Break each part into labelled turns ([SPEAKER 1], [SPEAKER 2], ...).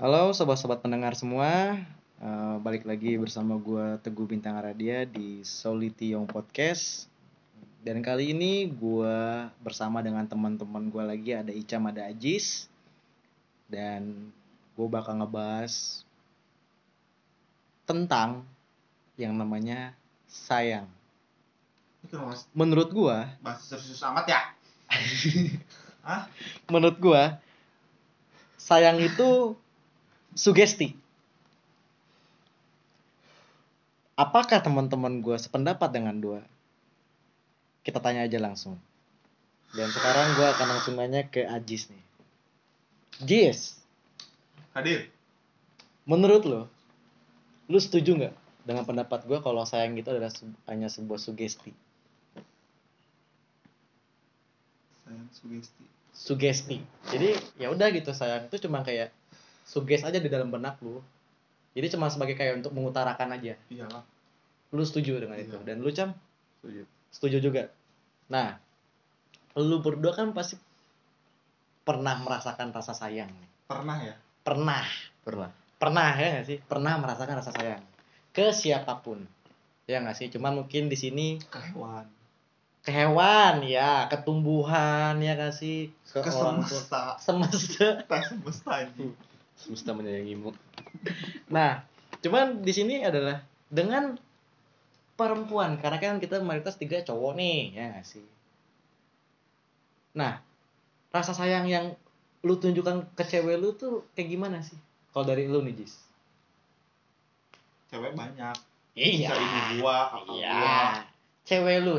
[SPEAKER 1] Halo sobat-sobat pendengar semua, Eh, balik lagi bersama gue Teguh Bintang Aradia di Soliti Young Podcast. Dan kali ini gue bersama dengan teman-teman gue lagi ada Icam, ada Ajis, dan gue bakal ngebahas tentang yang namanya sayang.
[SPEAKER 2] Ini kenapa mas-
[SPEAKER 1] Menurut gue,
[SPEAKER 2] bahas serius amat ya?
[SPEAKER 1] menurut gue, sayang itu sugesti. Apakah teman-teman gue sependapat dengan dua? Kita tanya aja langsung. Dan sekarang gue akan langsung nanya ke Ajis nih. Jis,
[SPEAKER 2] Hadir.
[SPEAKER 1] menurut lo, lo setuju nggak dengan pendapat gue kalau sayang itu adalah se- hanya sebuah sugesti?
[SPEAKER 2] Sayang sugesti.
[SPEAKER 1] sugesti jadi ya udah gitu sayang itu cuma kayak suges aja di dalam benak lu jadi cuma sebagai kayak untuk mengutarakan aja
[SPEAKER 2] Iyalah.
[SPEAKER 1] lu setuju dengan itu
[SPEAKER 2] Iya.
[SPEAKER 1] dan lu cam
[SPEAKER 2] Setuju.
[SPEAKER 1] setuju juga nah lu berdua kan pasti pernah merasakan rasa sayang nih.
[SPEAKER 2] Pernah ya?
[SPEAKER 1] pernah
[SPEAKER 3] pernah
[SPEAKER 1] pernah ya nggak sih pernah merasakan rasa sayang ke siapapun ya nggak sih cuman mungkin di sini
[SPEAKER 2] Ke hewan.
[SPEAKER 1] ke hewan ya ke tumbuhan ya nggak sih
[SPEAKER 2] Ke
[SPEAKER 1] orang tua.
[SPEAKER 2] semesta.
[SPEAKER 1] semesta
[SPEAKER 2] Ke semesta anjing.
[SPEAKER 3] semesta menyayangimu
[SPEAKER 1] Nah, cuman di sini adalah dengan perempuan karena kan kita mayoritas tiga cowok nih, ya nggak sih. Nah, rasa sayang yang lu tunjukkan ke cewek lu tuh kayak gimana sih? Kalau dari lu nih, Jis.
[SPEAKER 2] Cewek banyak.
[SPEAKER 1] Iya.
[SPEAKER 2] Bisa ibu gua, kakak gua.
[SPEAKER 1] Iya. Cewek lu,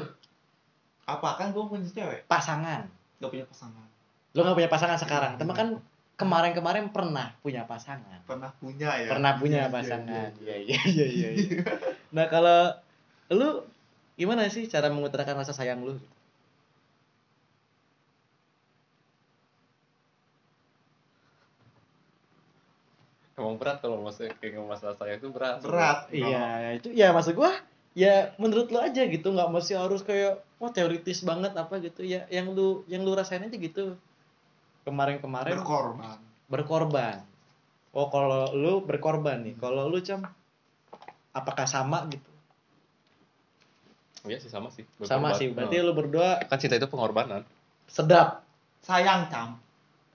[SPEAKER 2] Apa kan gua punya cewek?
[SPEAKER 1] pasangan.
[SPEAKER 2] Gak punya pasangan.
[SPEAKER 1] Lu nggak punya pasangan sekarang, tapi kan kemarin-kemarin pernah punya pasangan.
[SPEAKER 2] Pernah punya ya?
[SPEAKER 1] pernah punya
[SPEAKER 2] Iya, iya,
[SPEAKER 1] pasangan.
[SPEAKER 2] iya,
[SPEAKER 1] Iya
[SPEAKER 2] iya.
[SPEAKER 1] iya iya iya. iya. nah kalau lu gimana sih cara mengutarakan rasa sayang lu?
[SPEAKER 3] emang berat kalau maksudnya kayak ngomong masalah saya itu berat
[SPEAKER 2] Berat.
[SPEAKER 1] Iya itu ya maksud gua ya menurut lu aja gitu nggak mesti harus kayak wah teoritis banget apa gitu ya yang lu yang lu rasain aja gitu kemarin-kemarin
[SPEAKER 2] Berkorban.
[SPEAKER 1] berkorban. Oh kalau lu berkorban nih, kalau lu cam apakah sama gitu?
[SPEAKER 3] iya sih sama sih
[SPEAKER 1] Sama
[SPEAKER 3] Berkorban.
[SPEAKER 1] sih. Berarti
[SPEAKER 3] Nah,
[SPEAKER 1] lu berdua
[SPEAKER 3] kan cinta itu pengorbanan
[SPEAKER 1] sedap.
[SPEAKER 2] Sayang, Cam.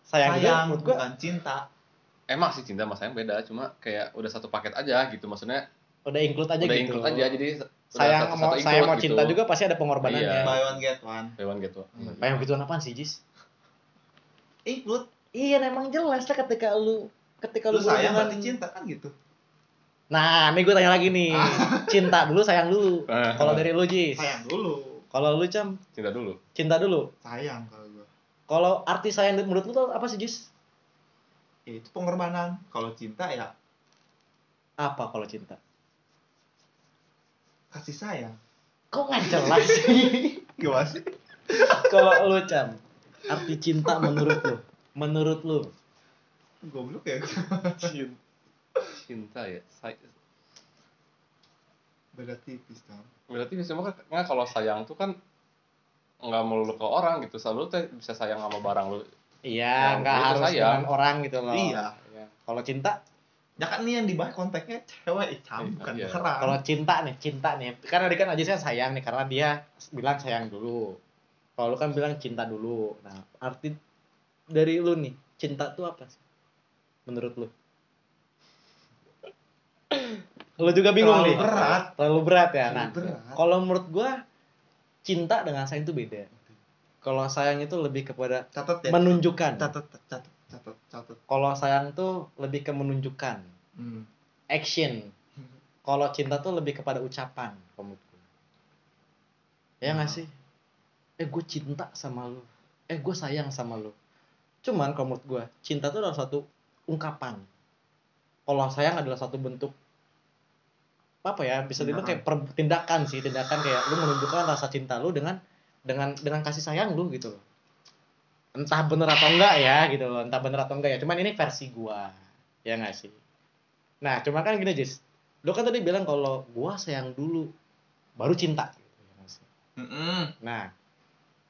[SPEAKER 1] Sayang,
[SPEAKER 2] Sayang,
[SPEAKER 1] sayang menurut gua
[SPEAKER 2] bukan cinta.
[SPEAKER 3] emang sih cinta sama sayang beda cuma kayak udah satu paket aja gitu maksudnya
[SPEAKER 1] udah include aja
[SPEAKER 3] udah
[SPEAKER 1] gitu.
[SPEAKER 3] include aja jadi se- udah
[SPEAKER 1] sayang
[SPEAKER 3] satu-satu
[SPEAKER 1] mau
[SPEAKER 3] include
[SPEAKER 1] saya mau
[SPEAKER 3] gitu.
[SPEAKER 1] cinta juga pasti ada pengorbanannya.
[SPEAKER 3] Iya.
[SPEAKER 2] Buy one, get one.
[SPEAKER 3] Hewan gitu
[SPEAKER 2] Hmm.
[SPEAKER 1] Kayak gitu apaan sih, Jis?
[SPEAKER 2] Ikut.
[SPEAKER 1] Iya, emang jelas lah ketika lu ketika
[SPEAKER 2] Lu
[SPEAKER 1] lu,
[SPEAKER 2] sayang
[SPEAKER 1] berhubungan-
[SPEAKER 2] berarti cinta kan gitu.
[SPEAKER 1] Nah, ini gue tanya lagi nih. cinta dulu, sayang dulu.
[SPEAKER 3] Ah.
[SPEAKER 1] Kalau dari lu, Jis.
[SPEAKER 2] Sayang dulu.
[SPEAKER 1] Kalau lu, Cam,
[SPEAKER 3] cinta dulu
[SPEAKER 1] cinta dulu.
[SPEAKER 2] Sayang kalau gua.
[SPEAKER 1] Kalau arti sayang menurut lu tuh apa sih, Jis?
[SPEAKER 2] Ya, itu pengorbanan. Kalau cinta ya
[SPEAKER 1] Apa kalau cinta?
[SPEAKER 2] kasih sayang.
[SPEAKER 1] Kok nggak jelas sih?
[SPEAKER 2] Gimana sih?
[SPEAKER 1] kalau lu, Cam, arti cinta menurut lu? Menurut lu?
[SPEAKER 2] Goblok ya.
[SPEAKER 3] cinta cinta ya Say-
[SPEAKER 2] Beda tipis kan.
[SPEAKER 3] berarti semua kan nggak, kalau sayang tuh kan nggak melulu ke orang gitu selalu tuh bisa sayang sama barang lu
[SPEAKER 1] Iya,
[SPEAKER 3] Ya,
[SPEAKER 1] nggak
[SPEAKER 3] menurut
[SPEAKER 1] harus
[SPEAKER 3] sayang.
[SPEAKER 1] dengan orang gitu loh.
[SPEAKER 2] Iya.
[SPEAKER 1] Ya. Kalau cinta,
[SPEAKER 2] Ya kan nih yang dibahas kontaknya cewek, eh, cam
[SPEAKER 3] Iya,
[SPEAKER 2] bukan
[SPEAKER 3] iya.
[SPEAKER 2] orang.
[SPEAKER 1] kalau cinta nih cinta nih karena tadi kan aja saya sayang nih karena dia bilang sayang dulu kalau lu kan bilang cinta dulu nah arti dari lu nih cinta tuh apa sih menurut lu lu juga bingung nih
[SPEAKER 2] Terlalu berat.
[SPEAKER 1] terlalu berat ya nah
[SPEAKER 2] Terlalu berat.
[SPEAKER 1] kalau menurut gua cinta dengan sayang itu beda kalau sayang itu lebih kepada
[SPEAKER 2] Catat ya.
[SPEAKER 1] menunjukkan
[SPEAKER 2] Catat, catat, catat, catat.
[SPEAKER 1] kalau sayang tuh lebih ke menunjukkan
[SPEAKER 2] Hmm.
[SPEAKER 1] action kalau cinta tuh lebih kepada ucapan kalau menurut gue. ya nggak sih eh gue cinta sama lu eh gue sayang sama lu cuman kalau menurut gue cinta tuh adalah satu ungkapan kalau sayang adalah satu bentuk apa ya bisa dibilang kayak per- tindakan sih tindakan kayak lu menunjukkan rasa cinta lu dengan dengan dengan kasih sayang lu gitu loh entah bener atau enggak ya gitu loh entah bener atau enggak ya cuman ini versi gua ya nggak sih nah cuman kan gini Jis lu kan tadi bilang kalau gua sayang dulu baru cinta Ya nggak sih?
[SPEAKER 2] Mm-mm.
[SPEAKER 1] nah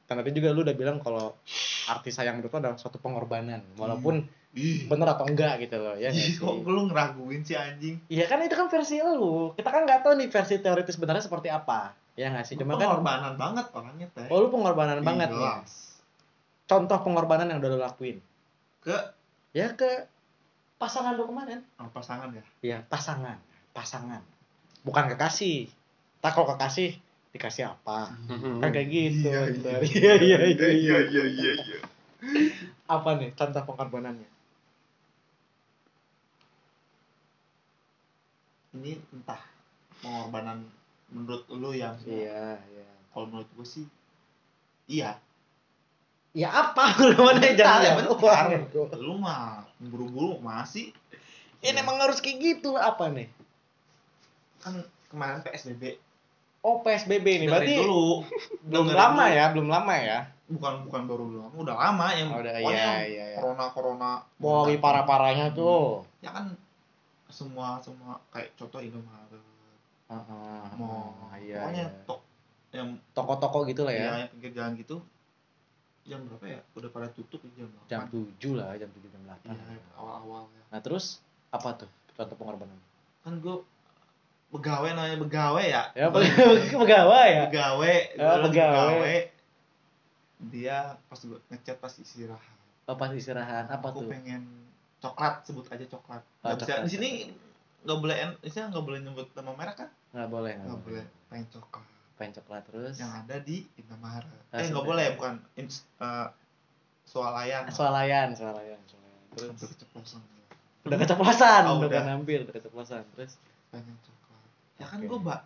[SPEAKER 1] dan tadi juga lu udah bilang kalau arti sayang menurut lu adalah suatu pengorbanan walaupun
[SPEAKER 2] Ih,
[SPEAKER 1] bener atau enggak gitu loh ya nggak
[SPEAKER 2] ih,
[SPEAKER 1] sih?
[SPEAKER 2] kok lu ngeraguin sih anjing?
[SPEAKER 1] Iya kan itu kan versi lu. Kita kan nggak tahu nih versi teoritis sebenarnya seperti apa. Ya nggak sih?
[SPEAKER 2] Lu
[SPEAKER 1] Cuma kan
[SPEAKER 2] pengorbanan banget orangnya teh.
[SPEAKER 1] oh lu pengorbanan banget nih.
[SPEAKER 2] Jelas.
[SPEAKER 1] Contoh pengorbanan yang udah lu lakuin.
[SPEAKER 2] Ke?
[SPEAKER 1] Ya ke pasangan lu kemarin.
[SPEAKER 2] Oh, pasangan ya.
[SPEAKER 1] Iya, pasangan. Pasangan. Bukan kekasih. Tak kalau kekasih dikasih apa? Kan kayak gitu.
[SPEAKER 2] Iya,
[SPEAKER 1] Iya iya
[SPEAKER 2] iya, iya,
[SPEAKER 1] iya.
[SPEAKER 2] iya, iya, iya, iya.
[SPEAKER 1] Apa nih contoh pengorbanannya?
[SPEAKER 2] Ini entah pengorbanan menurut lu yang
[SPEAKER 1] Iya, iya.
[SPEAKER 2] kalau menurut gue sih iya
[SPEAKER 1] Ya apa? Mana jangan
[SPEAKER 2] ya,
[SPEAKER 1] jangan
[SPEAKER 2] bentar.
[SPEAKER 1] uang, bro.
[SPEAKER 2] lu mah buru-buru masih
[SPEAKER 1] Ini
[SPEAKER 2] Ya,
[SPEAKER 1] emang harus kayak gitu lah apa nih?
[SPEAKER 2] kan kemarin PSBB
[SPEAKER 1] Oh PSBB ini
[SPEAKER 2] Dengerin
[SPEAKER 1] berarti
[SPEAKER 2] dulu
[SPEAKER 1] belum
[SPEAKER 2] Dengerin
[SPEAKER 1] lama
[SPEAKER 2] dulu.
[SPEAKER 1] ya, belum lama ya.
[SPEAKER 2] bukan bukan baru lama udah lama ya
[SPEAKER 1] Oh, udah
[SPEAKER 2] pokoknya
[SPEAKER 1] iya iya iya.
[SPEAKER 2] corona corona
[SPEAKER 1] Mau lagi parah-parahnya tuh.
[SPEAKER 2] ya kan semua semua kayak contoh Indomaret
[SPEAKER 1] Heeh.
[SPEAKER 2] Hmm. mau
[SPEAKER 1] iya.
[SPEAKER 2] pokoknya
[SPEAKER 1] iya.
[SPEAKER 2] tok yang
[SPEAKER 1] Toko-toko gitu lah ya.
[SPEAKER 2] ya. yang pinggir jalan gitu jam berapa ya udah pada tutup di jam
[SPEAKER 1] Jam
[SPEAKER 2] 8
[SPEAKER 1] 7 lah, jam 7 jam 8.
[SPEAKER 2] Iya, awal-awal ya
[SPEAKER 1] Nah, terus apa tuh contoh pengorbanan?
[SPEAKER 2] kan gue pegawai namanya pegawai ya
[SPEAKER 1] Ya paling pegawai ya.
[SPEAKER 2] pegawai
[SPEAKER 1] Oh,
[SPEAKER 2] dulu
[SPEAKER 1] pegawai.
[SPEAKER 2] dia pas gua ngechat pas istirahat
[SPEAKER 1] Pas istirahat apa
[SPEAKER 2] aku
[SPEAKER 1] tuh?
[SPEAKER 2] pengen coklat sebut aja coklat
[SPEAKER 1] Oh,
[SPEAKER 2] Nggak bisa
[SPEAKER 1] coklat,
[SPEAKER 2] di sini nggak boleh en- di sini nggak boleh nyebut nama merek kan
[SPEAKER 1] Nggak boleh,
[SPEAKER 2] nggak boleh pengen coklat
[SPEAKER 1] Pengen coklat terus.
[SPEAKER 2] yang ada di Indomaret
[SPEAKER 1] Ah,
[SPEAKER 2] eh nggak
[SPEAKER 1] sudah.
[SPEAKER 2] boleh bukan in, eh, swalayan
[SPEAKER 1] Ah, Swalayan, swalayan, swalayan. Terus
[SPEAKER 2] Hampir keceplosan gua.
[SPEAKER 1] udah keceplosan,
[SPEAKER 2] Oh,
[SPEAKER 1] udah
[SPEAKER 2] udah.
[SPEAKER 1] kan hampir udah keceplosan. Terus
[SPEAKER 2] pengen coklat ya kan
[SPEAKER 1] Oke.
[SPEAKER 2] gue mbak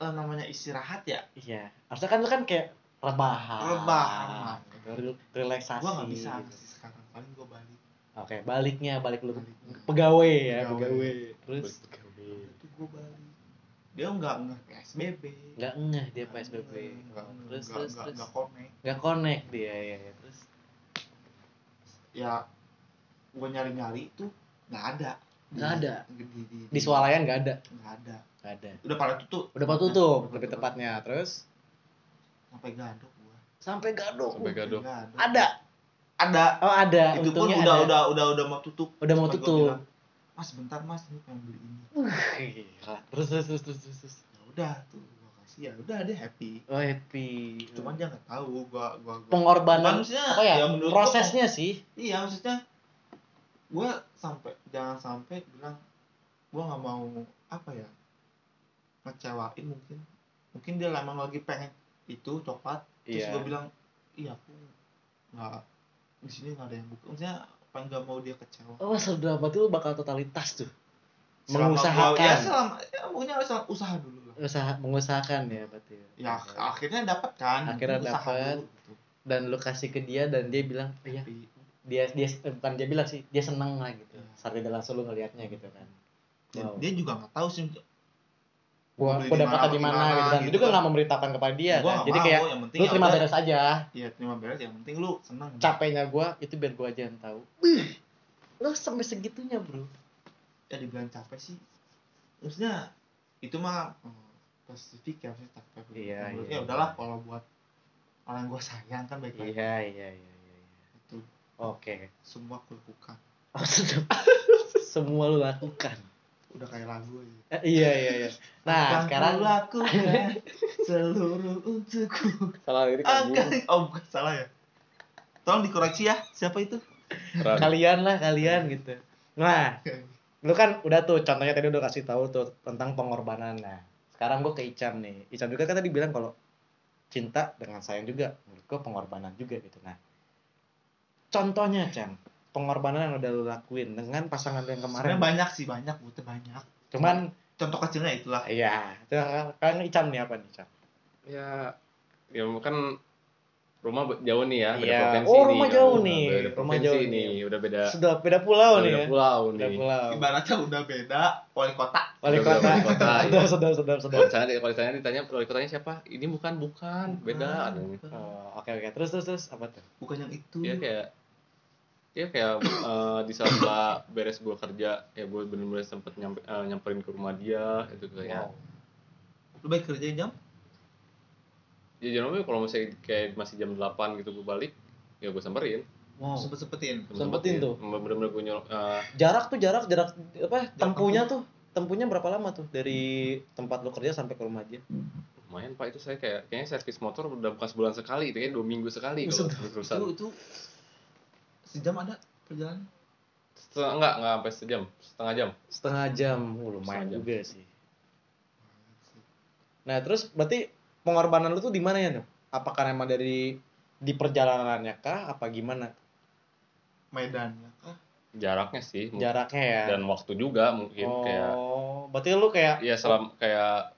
[SPEAKER 2] eh, namanya istirahat ya
[SPEAKER 1] iya, harusnya kan lu kan kayak rebahan.
[SPEAKER 2] Rebahan.
[SPEAKER 1] Rel- Relaksasi.
[SPEAKER 2] gue nggak bisa sih sekarang paling gue balik
[SPEAKER 1] Oke, baliknya balik lu
[SPEAKER 2] Baliknya.
[SPEAKER 1] pegawai ya,
[SPEAKER 2] Pegawai.
[SPEAKER 1] pegawai. Terus
[SPEAKER 2] itu gue balik dia nggak nggak PSBB
[SPEAKER 1] nggak ngeh dia PSBB. Terus terus terus
[SPEAKER 2] nggak connect
[SPEAKER 1] nggak connect dia ya, ya. terus
[SPEAKER 2] ya gue nyari nyari tuh nggak ada
[SPEAKER 1] Nggak ada.
[SPEAKER 2] di, di, di,
[SPEAKER 1] di swalayan nggak ada,
[SPEAKER 2] nggak ada
[SPEAKER 1] nggak ada.
[SPEAKER 2] udah pada tutup
[SPEAKER 1] Udah pada tutup lebih tepatnya. Terus
[SPEAKER 2] sampai gadok gue
[SPEAKER 1] sampai gaduh.
[SPEAKER 3] Sampai gaduh.
[SPEAKER 1] Ada.
[SPEAKER 2] ada
[SPEAKER 1] Oh, ada.
[SPEAKER 2] itu pun
[SPEAKER 1] Untungnya
[SPEAKER 2] udah
[SPEAKER 1] ada.
[SPEAKER 2] udah udah udah mau tutup
[SPEAKER 1] Udah mau
[SPEAKER 2] Sampai gua
[SPEAKER 1] tutup.
[SPEAKER 2] bilang, mas bentar mas ini pengen beli ini
[SPEAKER 1] Gila. Terus terus terus terus terus, terus.
[SPEAKER 2] ya udah tuh gue kasih ya udah dia happy
[SPEAKER 1] Oh, happy.
[SPEAKER 2] cuman dia nggak tahu gue gue
[SPEAKER 1] pengorbanan
[SPEAKER 2] maksudnya
[SPEAKER 1] oh ya,
[SPEAKER 2] menurut gua
[SPEAKER 1] prosesnya sih
[SPEAKER 2] iya maksudnya gue sampai jangan sampai bilang gue nggak mau apa ya ngecewain mungkin mungkin dia emang lagi pengen itu coklat terus
[SPEAKER 1] Iya.
[SPEAKER 2] gue bilang iya aku nggak di sini nggak ada yang buka maksudnya paling nggak mau dia kecewa
[SPEAKER 1] oh sudah berarti lu bakal totalitas tuh
[SPEAKER 2] Selama gua-
[SPEAKER 1] mengusahakan.
[SPEAKER 2] ya selama ya, mungkin harus selama- usaha dulu lah
[SPEAKER 1] usaha mengusahakan ya berarti
[SPEAKER 2] ya akhirnya dapat kan
[SPEAKER 1] Akhirnya
[SPEAKER 2] Usaha
[SPEAKER 1] dapat.
[SPEAKER 2] dulu gitu.
[SPEAKER 1] dan lu kasih ke dia dan dia bilang iya
[SPEAKER 2] Tapi,
[SPEAKER 1] dia dia eh, bukan dia bilang sih dia seneng lah gitu
[SPEAKER 2] Iya.
[SPEAKER 1] saat dia langsung lu ngelihatnya gitu kan
[SPEAKER 2] dia-
[SPEAKER 1] Wow.
[SPEAKER 2] dia juga nggak tahu sih
[SPEAKER 1] gua
[SPEAKER 2] beli
[SPEAKER 1] gua
[SPEAKER 2] di
[SPEAKER 1] dapat
[SPEAKER 2] mana,
[SPEAKER 1] di mana
[SPEAKER 2] gimana,
[SPEAKER 1] gitu kan
[SPEAKER 2] gitu
[SPEAKER 1] itu juga
[SPEAKER 2] kan.
[SPEAKER 1] nggak memberitakan kepada dia kan
[SPEAKER 2] gua nggak
[SPEAKER 1] jadi
[SPEAKER 2] mau,
[SPEAKER 1] kayak
[SPEAKER 2] yang penting
[SPEAKER 1] lu
[SPEAKER 2] ya
[SPEAKER 1] terima
[SPEAKER 2] udah.
[SPEAKER 1] beres aja
[SPEAKER 2] ya terima beres yang penting lu seneng
[SPEAKER 1] capeknya gua itu biar gua aja yang tahu Bih, lu sampai segitunya bro
[SPEAKER 2] ya dibilang capek sih maksudnya itu mah hmm, spesifik ya maksudnya capek
[SPEAKER 1] Iya,
[SPEAKER 2] Menurut-
[SPEAKER 1] iya.
[SPEAKER 2] ya udahlah kalau buat orang yang gue sayang kan baik baik
[SPEAKER 1] iya iya iya iya
[SPEAKER 2] itu
[SPEAKER 1] oke
[SPEAKER 2] semua aku lakukan
[SPEAKER 1] semua lu lakukan
[SPEAKER 2] udah kayak lagu ya
[SPEAKER 1] Eh, iya iya iya. Nah
[SPEAKER 2] Akan
[SPEAKER 1] sekarang
[SPEAKER 2] ku lakukan kan, seluruh untukku
[SPEAKER 3] Salah lirik kan
[SPEAKER 2] akan oh bukan salah ya tolong dikoreksi ya siapa itu
[SPEAKER 1] kalian lah kalian gitu. Nah lu kan udah tuh contohnya tadi udah kasih tahu tuh tentang pengorbanan. Nah sekarang gue ke Icam nih. Icam juga kan tadi bilang kalau cinta dengan sayang juga menurut gue pengorbanan juga gitu. Nah contohnya Cam pengorbanan yang udah lu lakuin dengan pasangan lu yang kemarin.
[SPEAKER 2] Sebenarnya banyak sih banyak butuh banyak
[SPEAKER 1] Cuman
[SPEAKER 2] contoh kecilnya itulah
[SPEAKER 1] iya kan Icam nih apa nih Cam?
[SPEAKER 3] Ya ya kan rumah be- jauh nih ya, beda
[SPEAKER 1] Iya.
[SPEAKER 3] provinsi
[SPEAKER 1] Oh,
[SPEAKER 3] nih.
[SPEAKER 1] rumah jauh
[SPEAKER 3] Nah,
[SPEAKER 1] nih.
[SPEAKER 3] Beda
[SPEAKER 1] Rumah
[SPEAKER 3] provinsi
[SPEAKER 1] jauh
[SPEAKER 3] nih,
[SPEAKER 1] nih.
[SPEAKER 3] udah beda
[SPEAKER 1] Sudah beda pulau
[SPEAKER 3] Ya. beda
[SPEAKER 1] nih. ya?
[SPEAKER 3] pulau
[SPEAKER 1] Beda
[SPEAKER 3] nih.
[SPEAKER 1] pulau.
[SPEAKER 2] ibaratnya udah beda wali kota
[SPEAKER 1] Wali
[SPEAKER 3] Udah
[SPEAKER 1] kota.
[SPEAKER 3] beda wali kota, iya.
[SPEAKER 1] Sudah sudah sudah sudah.
[SPEAKER 3] Kalau ditanya, kalau ditanya, ditanya wali kotanya siapa? Ini bukan, bukan, beda. Ada nih.
[SPEAKER 1] Oh, oke oke terus terus terus apa tuh?
[SPEAKER 2] Nah, bukan yang itu
[SPEAKER 1] Iya,
[SPEAKER 3] Dia kayak dia kayak eh, di saat gua beres gua kerja ya gua bener-bener sempet nyampe, eh, nyamperin ke rumah dia gitu kan ya. itu kayak
[SPEAKER 1] Wow.
[SPEAKER 2] lu baik kerja jam
[SPEAKER 3] ya jadi kalau misalnya kayak masih jam 8 gitu gua balik ya gua samperin
[SPEAKER 1] Wow.
[SPEAKER 2] sempet sempetin
[SPEAKER 1] Sempetin tuh.
[SPEAKER 3] Bener-bener gue nyolok eh,
[SPEAKER 1] Jarak tuh jarak jarak apa? Tempuhnya
[SPEAKER 2] tempuh.
[SPEAKER 1] tuh tempuhnya berapa lama tuh dari tempat lo kerja sampai ke rumah dia?
[SPEAKER 3] lumayan pak itu saya kayak kayaknya servis motor udah bukan sebulan sekali itu kayak dua minggu sekali
[SPEAKER 1] Buset.
[SPEAKER 3] kalau terus-terusan.
[SPEAKER 2] itu itu sejam ada perjalanan
[SPEAKER 3] Setengah enggak enggak sampai sejam, setengah jam.
[SPEAKER 1] Setengah jam, Wah, lumayan
[SPEAKER 3] Setengah jam.
[SPEAKER 1] juga sih. Nah terus berarti pengorbanan lu tuh di mana ya tuh? Apakah emang dari di perjalanannya kah? Apa gimana?
[SPEAKER 2] medannya kah
[SPEAKER 3] Jaraknya sih mungkin.
[SPEAKER 1] Jaraknya ya.
[SPEAKER 3] Hmm. dan waktu juga mungkin
[SPEAKER 1] oh,
[SPEAKER 3] kayak
[SPEAKER 1] berarti lu kayak
[SPEAKER 3] ya selam kayak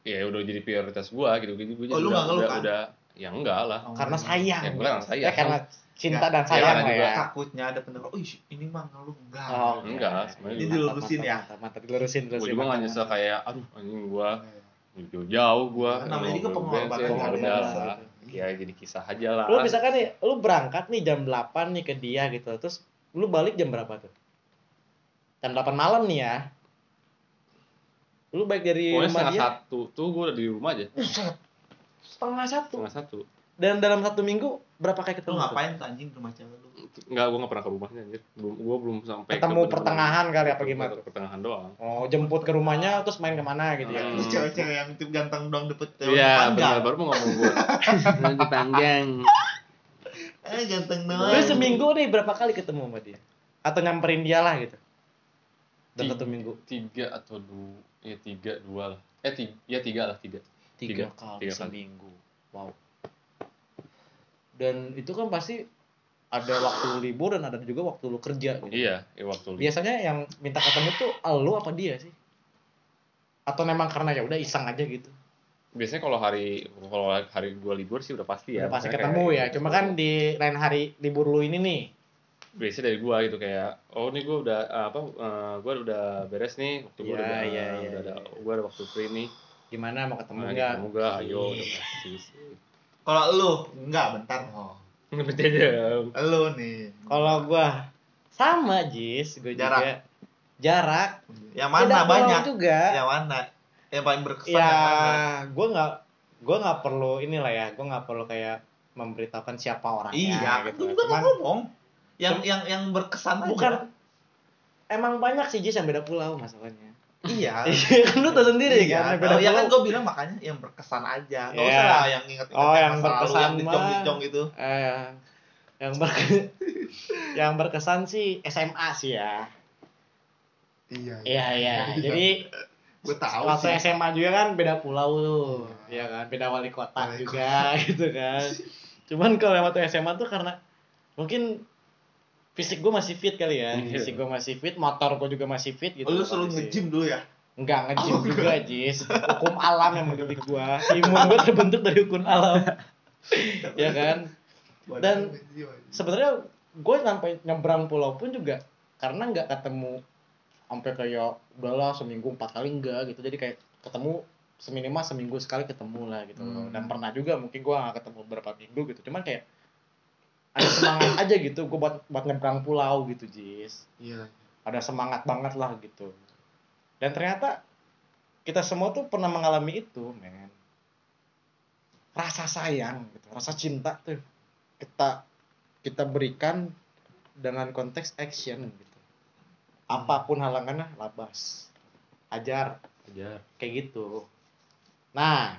[SPEAKER 3] ya udah jadi prioritas gua gitu gitu
[SPEAKER 2] Oh,
[SPEAKER 3] gua
[SPEAKER 2] lu
[SPEAKER 3] udah,
[SPEAKER 2] nggak ngeluh,
[SPEAKER 3] udah,
[SPEAKER 2] kan? Oh,
[SPEAKER 3] udah ya enggak lah
[SPEAKER 1] karena sayang.
[SPEAKER 3] ya bukan karena sayang.
[SPEAKER 1] Ya, karena cinta
[SPEAKER 2] Ya,
[SPEAKER 1] dan sayang
[SPEAKER 3] karena
[SPEAKER 1] lah
[SPEAKER 3] juga
[SPEAKER 1] ya.
[SPEAKER 2] takutnya ada pendapat oh ini mah ngeluh enggak
[SPEAKER 1] Oh,
[SPEAKER 3] Enggak, sebenarnya
[SPEAKER 1] Mantap,
[SPEAKER 2] dilurusin
[SPEAKER 1] mantap,
[SPEAKER 2] ya.
[SPEAKER 1] Mantap, mantap, dilurusin
[SPEAKER 3] gua
[SPEAKER 1] dilurusin.
[SPEAKER 3] juga nggak
[SPEAKER 1] mantap,
[SPEAKER 3] nyesel
[SPEAKER 1] mantap.
[SPEAKER 3] kayak aduh anjing gua jauh-jauh gua
[SPEAKER 2] Nah, namanya juga
[SPEAKER 3] Ngomong
[SPEAKER 2] pengorbanan
[SPEAKER 3] bensin,
[SPEAKER 1] kan,
[SPEAKER 3] udah
[SPEAKER 1] ya.
[SPEAKER 3] lah. ya jadi kisah aja lah
[SPEAKER 1] Lu misalkan nih, lu berangkat nih jam 8 nih ke dia gitu. Terus lu balik jam berapa tuh? Jam 8 malam nih ya. Lu balik dari
[SPEAKER 3] pokoknya
[SPEAKER 1] rumah
[SPEAKER 3] setengah
[SPEAKER 1] dia
[SPEAKER 3] satu tuh gua udah di rumah aja
[SPEAKER 2] Eh,
[SPEAKER 1] setengah satu.
[SPEAKER 3] setengah satu
[SPEAKER 1] Dan dalam satu minggu berapa kali
[SPEAKER 2] lu
[SPEAKER 1] ketemu? tuh?
[SPEAKER 2] ngapain tuh anjing ke rumah cewek lu
[SPEAKER 3] Enggak, gue gak pernah ke rumahnya anjir. Belum, gue belum sampai
[SPEAKER 1] Ketemu pertengahan kali apa gimana tuh?
[SPEAKER 3] Pertengahan doang.
[SPEAKER 1] Oh, jemput ke rumahnya terus main kemana gitu ya.
[SPEAKER 3] Hmm.
[SPEAKER 2] Terus cewek-cewek yang tip ganteng dong dapet cewek
[SPEAKER 3] Iya,
[SPEAKER 2] panjang.
[SPEAKER 3] benar baru mau ngomong gue. Nanti panjang.
[SPEAKER 2] Eh ganteng
[SPEAKER 1] Lu
[SPEAKER 2] banget.
[SPEAKER 1] seminggu nih berapa kali ketemu sama dia? Atau nyamperin dia lah gitu. Dan
[SPEAKER 3] Tiga.
[SPEAKER 1] satu minggu
[SPEAKER 3] Tiga atau dua, ya tiga dua lah. Eh tiga, ya tiga lah tiga.
[SPEAKER 1] tiga,
[SPEAKER 3] Tiga.
[SPEAKER 1] kali
[SPEAKER 3] Tiga kali.
[SPEAKER 1] seminggu. Wow. Dan itu kan pasti ada waktu lu libur dan ada juga waktu lu kerja gitu.
[SPEAKER 3] Iya, ya waktu li-
[SPEAKER 1] Biasanya yang minta ketemu tuh lu apa dia sih? Atau memang karena ya udah iseng aja gitu.
[SPEAKER 3] Biasanya kalau hari kalau hari gue libur sih udah pasti ya.
[SPEAKER 1] udah pasti
[SPEAKER 3] Maksudnya
[SPEAKER 1] ketemu
[SPEAKER 3] kayak-
[SPEAKER 1] ya. Cuma kan di lain hari libur lu ini nih.
[SPEAKER 3] biasanya dari gue gitu kayak, oh ini gue udah apa? gue udah beres nih. Waktu
[SPEAKER 1] Iya,
[SPEAKER 3] gue udah,
[SPEAKER 1] iya, iya,
[SPEAKER 3] udah ada,
[SPEAKER 1] iya.
[SPEAKER 3] gue ada waktu free nih.
[SPEAKER 1] Gimana mau ketemu
[SPEAKER 3] Nah,
[SPEAKER 1] nggak?
[SPEAKER 3] ketemu gak? Ayo, udah
[SPEAKER 1] Iya.
[SPEAKER 3] pasti.
[SPEAKER 2] Kalau lu enggak bentar oh.
[SPEAKER 3] Ngerti aja.
[SPEAKER 2] Lu nih.
[SPEAKER 1] Kalau gua sama Jis, gua
[SPEAKER 2] Jarak.
[SPEAKER 1] juga jarak.
[SPEAKER 2] yang mana
[SPEAKER 1] Tidak pulang
[SPEAKER 2] banyak?
[SPEAKER 1] juga.
[SPEAKER 2] Yang mana? Yang paling berkesan
[SPEAKER 1] ya
[SPEAKER 2] yang mana?
[SPEAKER 1] gue nggak gue nggak perlu inilah ya gue nggak perlu kayak memberitahukan siapa orangnya
[SPEAKER 2] Iya, kan
[SPEAKER 1] gitu
[SPEAKER 2] lu juga nggak
[SPEAKER 1] Cuman,
[SPEAKER 2] ngomong. Yang yang yang berkesan
[SPEAKER 1] bukan
[SPEAKER 2] aja.
[SPEAKER 1] emang banyak sih Jis yang beda pulau masalahnya
[SPEAKER 2] Iya.
[SPEAKER 1] Iya, kan lu tau sendiri
[SPEAKER 2] Iya,
[SPEAKER 1] kan yang
[SPEAKER 2] tahu. ya kan
[SPEAKER 1] pulau.
[SPEAKER 2] gue bilang makanya yang berkesan aja. Gak
[SPEAKER 1] Iya.
[SPEAKER 2] usah lah yang inget
[SPEAKER 1] Oh, yang berkesan
[SPEAKER 2] yang dicong-dicong
[SPEAKER 1] mah.
[SPEAKER 2] gitu.
[SPEAKER 1] Eh, yang berke- yang berkesan sih SMA sih ya
[SPEAKER 2] Iya.
[SPEAKER 1] iya iya jadi
[SPEAKER 2] Gue tahu
[SPEAKER 1] waktu
[SPEAKER 2] sih.
[SPEAKER 1] SMA juga kan beda pulau tuh ya kan beda wali kota
[SPEAKER 2] Wali
[SPEAKER 1] juga gitu kan cuman kalau yang waktu SMA tuh karena mungkin fisik gue masih fit kali ya
[SPEAKER 3] Iya.
[SPEAKER 1] fisik gue masih fit motor gue juga masih fit gitu
[SPEAKER 2] Oh, lu
[SPEAKER 1] kondisi.
[SPEAKER 2] selalu nge-gym dulu ya?
[SPEAKER 1] enggak nge-gym
[SPEAKER 2] Oh, enggak.
[SPEAKER 1] juga Jis hukum alam yang mendidik gue imun gue terbentuk dari hukum alam
[SPEAKER 2] Iya
[SPEAKER 1] ya kan Dan- sebenarnya gue sampai nyebrang pulau pun juga karena nggak ketemu sampai kayak udahlah seminggu empat kali enggak gitu jadi kayak ketemu seminimal seminggu sekali ketemu lah gitu loh.
[SPEAKER 2] Hmm.
[SPEAKER 1] dan pernah juga mungkin gue nggak ketemu berapa minggu gitu cuman kayak ada semangat aja gitu gue buat buat nyebrang pulau gitu jis
[SPEAKER 2] Iya.
[SPEAKER 1] ada semangat banget lah gitu dan ternyata kita semua tuh pernah mengalami itu men rasa sayang gitu rasa cinta tuh kita kita berikan dengan konteks action gitu apapun halangannya labas ajar
[SPEAKER 3] Ajar.
[SPEAKER 1] kayak gitu nah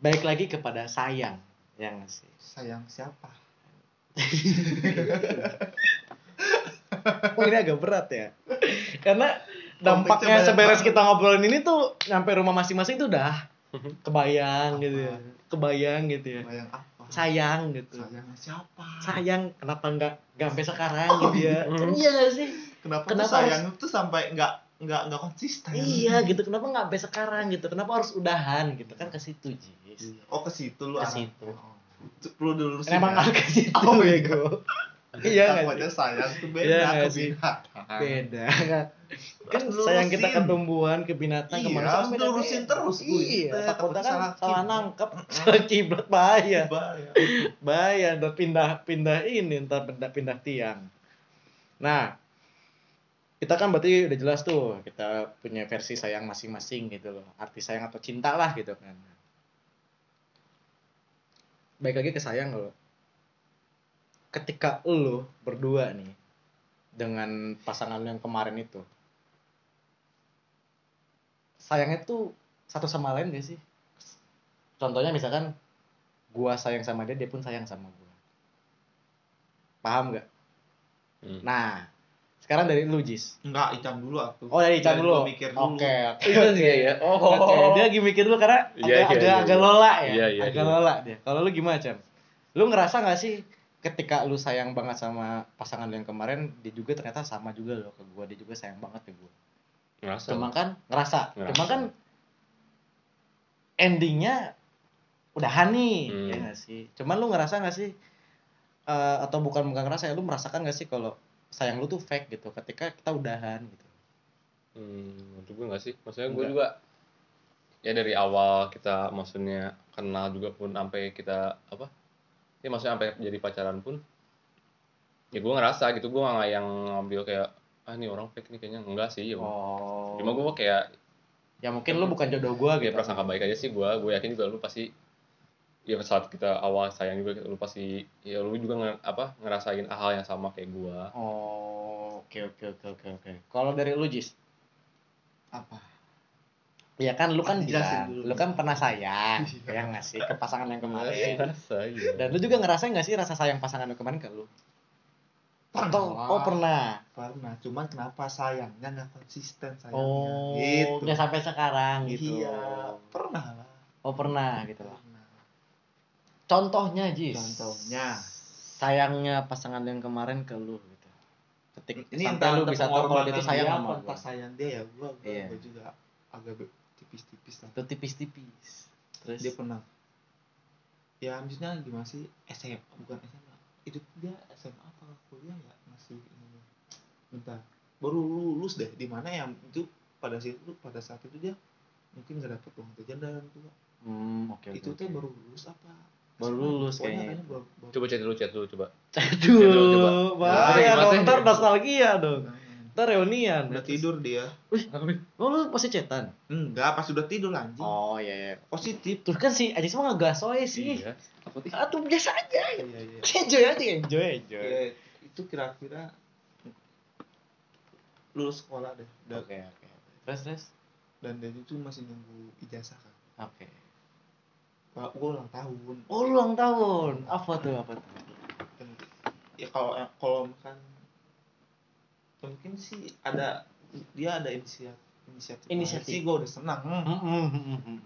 [SPEAKER 1] balik lagi kepada sayang yang sih
[SPEAKER 2] Sayang siapa?
[SPEAKER 1] Oh, ini agak berat ya. Karena dampaknya
[SPEAKER 2] Konfliknya banyak
[SPEAKER 1] seberes
[SPEAKER 2] banget.
[SPEAKER 1] kita ngobrolin ini tuh nyampe rumah masing-masing tuh udah kebayang gitu ya. Kebayang gitu ya.
[SPEAKER 2] Sayang apa?
[SPEAKER 1] Sayang gitu.
[SPEAKER 2] Sayang siapa?
[SPEAKER 1] Sayang kenapa nggak nggak sampai sekarang
[SPEAKER 2] Oh,
[SPEAKER 1] gitu ya. Iya nggak sih?
[SPEAKER 2] Kenapa,
[SPEAKER 1] Kenapa
[SPEAKER 2] tuh sayang tuh sampai nggak nggak nggak konsisten?
[SPEAKER 1] Iya gitu. Kenapa nggak sampai sekarang gitu? Kenapa harus udahan gitu? Kan ke situ, Jis.
[SPEAKER 2] Oh ke situ lu
[SPEAKER 1] Ke
[SPEAKER 2] arah.
[SPEAKER 1] situ.
[SPEAKER 2] Oh. Itu Perlu dulu sih.
[SPEAKER 1] Emang
[SPEAKER 2] ya.
[SPEAKER 1] harus ke situ
[SPEAKER 2] Oh my
[SPEAKER 1] bego. Iya nggak
[SPEAKER 2] Takutnya
[SPEAKER 1] sih?
[SPEAKER 2] sayang tuh
[SPEAKER 1] Iya
[SPEAKER 2] beda
[SPEAKER 1] nggak
[SPEAKER 2] ke
[SPEAKER 1] sih?
[SPEAKER 2] binatang.
[SPEAKER 1] Beda. Kan
[SPEAKER 2] Harus
[SPEAKER 1] sayang kita ke
[SPEAKER 2] lurusin.
[SPEAKER 1] tumbuhan, ke binatang,
[SPEAKER 2] Iya,
[SPEAKER 1] ke manusia.
[SPEAKER 2] harus
[SPEAKER 1] kan beda-beda.
[SPEAKER 2] lurusin terus, Bu.
[SPEAKER 1] Iya,
[SPEAKER 2] Kita
[SPEAKER 1] takutnya
[SPEAKER 2] takutnya
[SPEAKER 1] kan
[SPEAKER 2] salah
[SPEAKER 1] salah
[SPEAKER 2] kiblat.
[SPEAKER 1] nangkep, salah kiblat bahaya.
[SPEAKER 2] Bahaya.
[SPEAKER 1] Bahaya, ntar pindah pindah ini, ntar pindah pindah tiang. Nah, kita kan berarti udah jelas tuh, kita punya versi sayang masing-masing gitu loh. Arti sayang atau cinta lah gitu kan. baik lagi ke sayang lo ketika lo berdua nih dengan pasangan lo yang kemarin itu sayangnya tuh satu sama lain gak sih contohnya misalkan gua sayang sama dia dia pun sayang sama gua paham gak
[SPEAKER 3] Hmm.
[SPEAKER 1] nah sekarang dari lu Jis
[SPEAKER 2] Enggak, Icam dulu aku.
[SPEAKER 1] oh dari Ican
[SPEAKER 2] Biar
[SPEAKER 1] dulu
[SPEAKER 2] gua mikir dulu.
[SPEAKER 1] oke oke
[SPEAKER 3] Itu sih ya. Oh.
[SPEAKER 1] Oke, gitu. Nah, dia lagi mikir dulu karena agak
[SPEAKER 3] Iya, iya,
[SPEAKER 1] agak,
[SPEAKER 3] iya,
[SPEAKER 1] agak
[SPEAKER 3] iya.
[SPEAKER 1] lola ya.
[SPEAKER 3] Iya, iya,
[SPEAKER 1] agak
[SPEAKER 3] iya.
[SPEAKER 1] lola dia. Kalau lu gimana, Cem? Lu ngerasa gak sih ketika lu sayang banget sama pasangan lu yang kemarin, dia juga ternyata sama juga loh ke gua, dia juga sayang banget ke gua.
[SPEAKER 3] Ngerasa.
[SPEAKER 1] Cuma kan ngerasa.
[SPEAKER 3] Ngerasa.
[SPEAKER 1] Cuma kan endingnya udahan nih,
[SPEAKER 3] Hmm.
[SPEAKER 1] ya gak sih? Cuman lu ngerasa gak sih eh, atau bukan bukan ngerasa ya lu merasakan gak sih kalau sayang lu tuh fake gitu ketika kita udahan gitu.
[SPEAKER 3] Hmm, menurut gue gak sih. Maksudnya gue
[SPEAKER 1] Enggak.
[SPEAKER 3] juga ya dari awal kita maksudnya kenal juga pun sampai kita apa? Ya maksudnya sampai jadi pacaran pun ya gue ngerasa gitu gue nggak yang ngambil kayak ah ini orang fake nih kayaknya enggak sih ya.
[SPEAKER 1] Oh.
[SPEAKER 3] Cuma gue kayak
[SPEAKER 1] ya mungkin lu bukan jodoh gua
[SPEAKER 3] ya
[SPEAKER 1] gitu.
[SPEAKER 3] prasangka baik aja sih gue. Gue yakin juga lu pasti ya saat kita awal sayang juga lu pasti ya lu juga nge- apa ngerasain hal yang sama kayak gue.
[SPEAKER 1] Oh, oke oke oke oke oke. Kalau dari lu Jis,
[SPEAKER 2] Apa?
[SPEAKER 1] ya kan lu kan bilang,
[SPEAKER 2] Jelasin
[SPEAKER 1] lu
[SPEAKER 2] dulu.
[SPEAKER 1] kan pernah sayang,
[SPEAKER 2] Iya.
[SPEAKER 1] ya nggak sih ke pasangan yang kemarin.
[SPEAKER 3] Ngerasa ya.
[SPEAKER 1] Iya. Dan lu juga ngerasain nggak sih rasa sayang pasangan lu kemarin ke lu? Atau
[SPEAKER 2] Pernah.
[SPEAKER 1] oh pernah.
[SPEAKER 2] Pernah, Nah, cuman kenapa sayangnya nggak konsisten sayangnya.
[SPEAKER 1] Oh,
[SPEAKER 2] gitu.
[SPEAKER 1] ya sampai sekarang gitu.
[SPEAKER 2] Iya, pernah lah.
[SPEAKER 1] Oh pernah gitu lah.
[SPEAKER 2] Pernah.
[SPEAKER 1] Contohnya Jis.
[SPEAKER 2] Contohnya.
[SPEAKER 1] Sayangnya pasangan yang kemarin ke lu gitu. Ketik,
[SPEAKER 2] Ini
[SPEAKER 1] sampai
[SPEAKER 2] entah
[SPEAKER 1] lu bisa tahu kalau dia tuh
[SPEAKER 2] pengorbanan
[SPEAKER 1] sayang
[SPEAKER 2] dia,
[SPEAKER 1] sama
[SPEAKER 2] apa
[SPEAKER 1] gua.
[SPEAKER 2] entah sayang dia ya gua gua,
[SPEAKER 1] Iya.
[SPEAKER 2] gua juga agak be- tipis-tipis lah.
[SPEAKER 1] Itu tipis-tipis. Terus
[SPEAKER 2] Dia pernah ya maksudnya gimana sih SMA bukan SMA itu dia SMA apa kuliah ya masih ini bentar baru lulus deh di mana yang itu pada saat itu pada saat itu dia mungkin nggak dapet uang jajan dan tua
[SPEAKER 1] Hmm, oke. oke,
[SPEAKER 2] itu
[SPEAKER 1] oke.
[SPEAKER 2] teh baru kan? lulus apa
[SPEAKER 1] Baru
[SPEAKER 2] SMA?
[SPEAKER 1] lulus
[SPEAKER 2] Pokoknya
[SPEAKER 1] kayaknya
[SPEAKER 2] kayaknya
[SPEAKER 1] itu.
[SPEAKER 2] baru- baru-
[SPEAKER 3] Coba chat dulu, chat dulu coba. Coba, coba.
[SPEAKER 1] Aduh,
[SPEAKER 3] Ya,
[SPEAKER 1] bahaya dong.
[SPEAKER 3] gimana?
[SPEAKER 1] Ntar nostalgia dong.
[SPEAKER 2] Nah,
[SPEAKER 1] Ntar reunian.
[SPEAKER 2] iya, udah tidur dia
[SPEAKER 1] Oh, lu pasti cetan.
[SPEAKER 2] enggak pas udah tidur anjing
[SPEAKER 1] Oh iya. iya.
[SPEAKER 2] positif
[SPEAKER 1] Terus kan si Ajis mah ngegasoy sih.
[SPEAKER 3] Iya.
[SPEAKER 1] Atau biasa aja.
[SPEAKER 2] iya iya
[SPEAKER 1] Enjoy aja, Iya, enjoy, enjoy.
[SPEAKER 2] Ya, itu kira-kira lulus sekolah deh dan,
[SPEAKER 1] Oke, oke. Terus, terus.
[SPEAKER 2] dan dia itu masih nunggu ijazah kan
[SPEAKER 1] Oke.
[SPEAKER 2] Wah, gue ulang tahun
[SPEAKER 1] Oh, lu ulang tahun. Apa tuh, apa tuh?
[SPEAKER 2] Dan- ya kalau kalau makan ya mungkin sih ada dia ada inisiatif inisiatif,
[SPEAKER 1] Inisiatif.
[SPEAKER 2] sih gue udah senang
[SPEAKER 1] Mm-mm.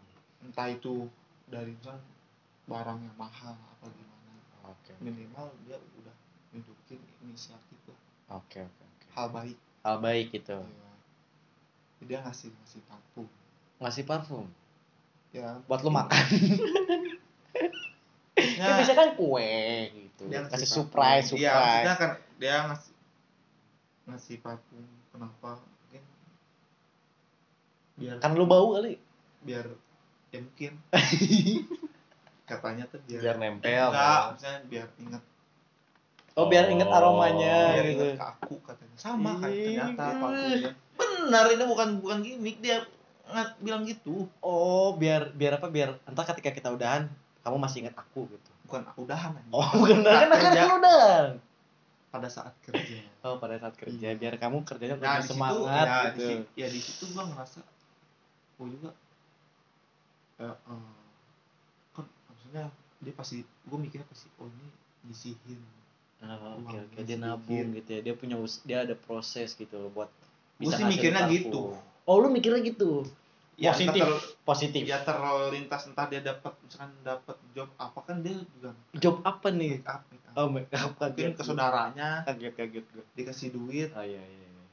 [SPEAKER 2] entah itu dari misalnya barang yang mahal apa gimana
[SPEAKER 1] Oke.
[SPEAKER 2] minimal dia udah nunjukin inisiatif lah
[SPEAKER 1] Oke, oke, oke.
[SPEAKER 2] hal baik
[SPEAKER 1] Hal baik gitu.
[SPEAKER 2] Iya. dia ngasih ngasih tampung
[SPEAKER 1] Ngasih parfum
[SPEAKER 2] ya
[SPEAKER 1] buat lu makan. Iya. Kan
[SPEAKER 2] Ya,
[SPEAKER 1] bisa kan kue gitu.
[SPEAKER 2] dia ngasih
[SPEAKER 1] Kasih
[SPEAKER 2] parfum.
[SPEAKER 1] surprise,
[SPEAKER 2] Iya, maksudnya
[SPEAKER 1] surprise.
[SPEAKER 2] kan dia ngasih ngasih parfum kenapa mungkin biar
[SPEAKER 1] Kan lu bau kali.
[SPEAKER 2] biar ya mungkin katanya tuh biar,
[SPEAKER 3] Biar
[SPEAKER 1] Iya,
[SPEAKER 3] nempel.
[SPEAKER 2] enggak misalnya biar inget
[SPEAKER 1] Oh, biar inget aromanya
[SPEAKER 2] biar
[SPEAKER 1] gitu.
[SPEAKER 2] inget ke aku katanya sama kan
[SPEAKER 1] Ih,
[SPEAKER 2] ternyata
[SPEAKER 1] ih.
[SPEAKER 2] parfumnya benar ini bukan bukan gimmick dia ngat- bilang gitu
[SPEAKER 1] Oh, biar biar apa? Biar entah ketika kita udahan kamu masih ingat aku gitu.
[SPEAKER 2] bukan aku udahan anjing.
[SPEAKER 1] Oh, bukan kan
[SPEAKER 2] Nah,
[SPEAKER 1] kan
[SPEAKER 2] kerja.
[SPEAKER 1] lu udahan.
[SPEAKER 2] pada saat kerja
[SPEAKER 1] Oh, pada saat kerja
[SPEAKER 2] Iya.
[SPEAKER 1] biar kamu kerjanya
[SPEAKER 2] nah
[SPEAKER 1] lebih
[SPEAKER 2] di situ
[SPEAKER 1] semangat
[SPEAKER 2] ya, di
[SPEAKER 1] gitu.
[SPEAKER 2] situ ya di situ gua ngerasa gua juga eh, eh, kan maksudnya dia pasti gua mikirnya pasti oh ini nyisihin
[SPEAKER 1] Oh, oke oke
[SPEAKER 2] Uangnya
[SPEAKER 1] dia nabung gitu ya. Dia punya us- dia ada proses gitu loh buat
[SPEAKER 2] gua sih
[SPEAKER 1] ngasilin
[SPEAKER 2] mikirnya
[SPEAKER 1] parfum.
[SPEAKER 2] gitu
[SPEAKER 1] Oh, lu mikirnya gitu.
[SPEAKER 2] ya
[SPEAKER 1] Positif.
[SPEAKER 2] ter-
[SPEAKER 1] Positif.
[SPEAKER 2] ya terlintas entah dia dapat misalkan dapat job apa kan dia juga
[SPEAKER 1] Job apa nih?
[SPEAKER 2] make up, make up.
[SPEAKER 1] Oh, my God,
[SPEAKER 2] mungkin
[SPEAKER 1] kaget.
[SPEAKER 2] ke saudaranya
[SPEAKER 1] Kaget kaget gue.
[SPEAKER 2] dikasih duit
[SPEAKER 1] Oh iya iya. iya.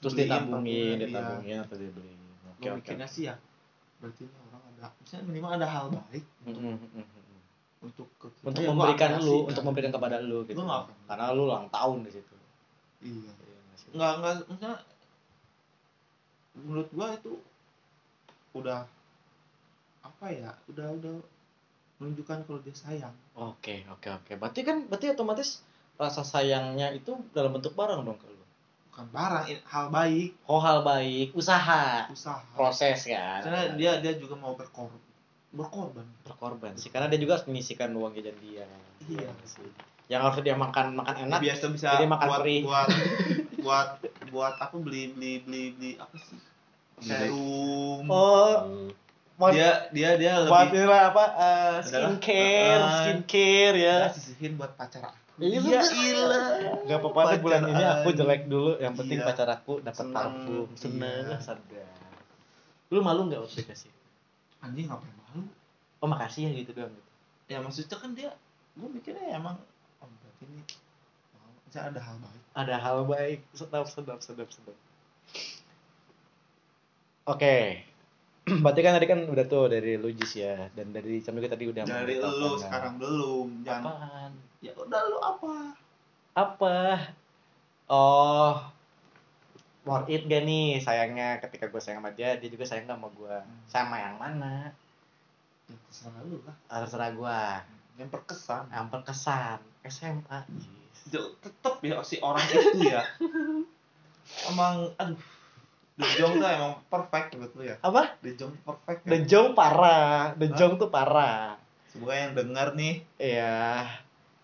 [SPEAKER 1] Terus
[SPEAKER 2] beliin
[SPEAKER 1] ditabungin, iya.
[SPEAKER 2] parfumnya,
[SPEAKER 1] ditabungin atau dibeliin.
[SPEAKER 2] iya. Gua mikirnya sih ya berarti ini orang ada misalnya minimal ada hal baik
[SPEAKER 1] Mm, mm, mm, mm.
[SPEAKER 2] untuk ke kita,
[SPEAKER 1] untuk
[SPEAKER 2] ya gitu. gua
[SPEAKER 1] memberikan lu
[SPEAKER 2] apresiasi,
[SPEAKER 1] untuk
[SPEAKER 2] kan.
[SPEAKER 1] memberikan kepada lu gitu
[SPEAKER 2] Gua nggak akan.
[SPEAKER 1] karena lu ulang tahun di situ
[SPEAKER 2] iya
[SPEAKER 1] Iya, nggak sih?
[SPEAKER 2] nggak nggak maksudnya menurut gua itu udah apa ya udah udah menunjukkan kalau dia sayang
[SPEAKER 1] oke oke oke berarti kan berarti otomatis rasa sayangnya itu dalam bentuk barang dong ke lu
[SPEAKER 2] bukan barang ini hal baik
[SPEAKER 1] oh hal baik usaha
[SPEAKER 2] usaha
[SPEAKER 1] proses kan
[SPEAKER 2] karena dia dia juga mau berkorban berkorban
[SPEAKER 1] berkorban sih karena dia juga harus menyisikan uang jajan dia
[SPEAKER 2] Iya.
[SPEAKER 1] sih yang harus dia makan makan enak
[SPEAKER 2] biasa bisa
[SPEAKER 1] Jadi makan
[SPEAKER 2] buat,
[SPEAKER 1] perih.
[SPEAKER 2] buat buat buat apa beli beli beli beli apa sih serum
[SPEAKER 1] oh
[SPEAKER 3] Hmm.
[SPEAKER 1] mau
[SPEAKER 2] dia dia dia
[SPEAKER 1] buat
[SPEAKER 2] lebih
[SPEAKER 1] ini lah, apa eh,
[SPEAKER 2] Adalah,
[SPEAKER 1] skincare
[SPEAKER 2] eh,
[SPEAKER 1] skincare ya
[SPEAKER 2] dia sisihin buat pacar aku
[SPEAKER 1] Iya,
[SPEAKER 2] ilah
[SPEAKER 1] Gak apa-apa deh bulan ini
[SPEAKER 2] Pacaran.
[SPEAKER 1] aku jelek dulu, yang penting
[SPEAKER 2] Iya.
[SPEAKER 1] pacar aku dapat
[SPEAKER 2] Seneng.
[SPEAKER 1] parfum, seneng,
[SPEAKER 2] Iya.
[SPEAKER 1] sadar. Lu malu nggak waktu dikasih?
[SPEAKER 2] anjing ngapain malu
[SPEAKER 1] Oh makasih ya gitu doang. Gitu.
[SPEAKER 2] ya maksudnya kan dia gue mikirnya emang oh berarti ini oh, misalnya ada hal baik
[SPEAKER 1] Ada hal baik, sedap, sedap, sedap, sedap. Oke, berarti kan tadi kan udah tuh dari Lujis ya, dan dari Camiko tadi udah
[SPEAKER 2] dari
[SPEAKER 1] menurut
[SPEAKER 2] lu
[SPEAKER 1] apa-apa.
[SPEAKER 2] sekarang belum jangan
[SPEAKER 1] Apaan?
[SPEAKER 2] ya udah lu apa
[SPEAKER 1] Apa? Oh, worth it gak nih sayangnya ketika gue sayang sama dia, dia juga sayang gak sama gue. Sama yang mana? Ah,
[SPEAKER 2] ya terserah lu lah
[SPEAKER 1] Terserah gue.
[SPEAKER 2] yang berkesan
[SPEAKER 1] yang berkesan SMA
[SPEAKER 2] Jo- tetep ya si orang itu ya emang aduh Dejong tuh emang perfect menurut lu ya
[SPEAKER 1] apa
[SPEAKER 2] Dejong perfect ya?
[SPEAKER 1] Dejong parah Dejong tuh parah
[SPEAKER 2] semoga yang dengar nih
[SPEAKER 1] iya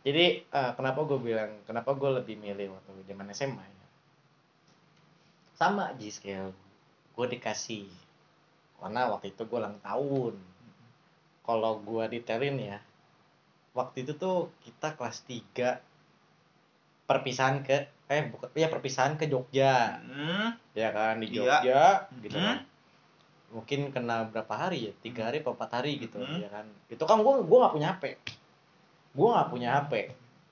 [SPEAKER 1] jadi eh, kenapa gue bilang kenapa gue lebih milih waktu zaman SMA ya? sama Jis kayak gue dikasih karena waktu itu gue ulang tahun kalau gue detailin ya waktu itu tuh kita kelas 3 perpisahan ke eh bukan ya perpisahan ke Jogja
[SPEAKER 2] hmm,
[SPEAKER 1] ya kan di
[SPEAKER 2] Iya.
[SPEAKER 1] Jogja gitu
[SPEAKER 2] Hmm.
[SPEAKER 1] kan mungkin kena berapa hari ya tiga hari atau empat hari gitu
[SPEAKER 2] Hmm.
[SPEAKER 1] ya kan itu kan gue gue nggak punya HP gue nggak punya HP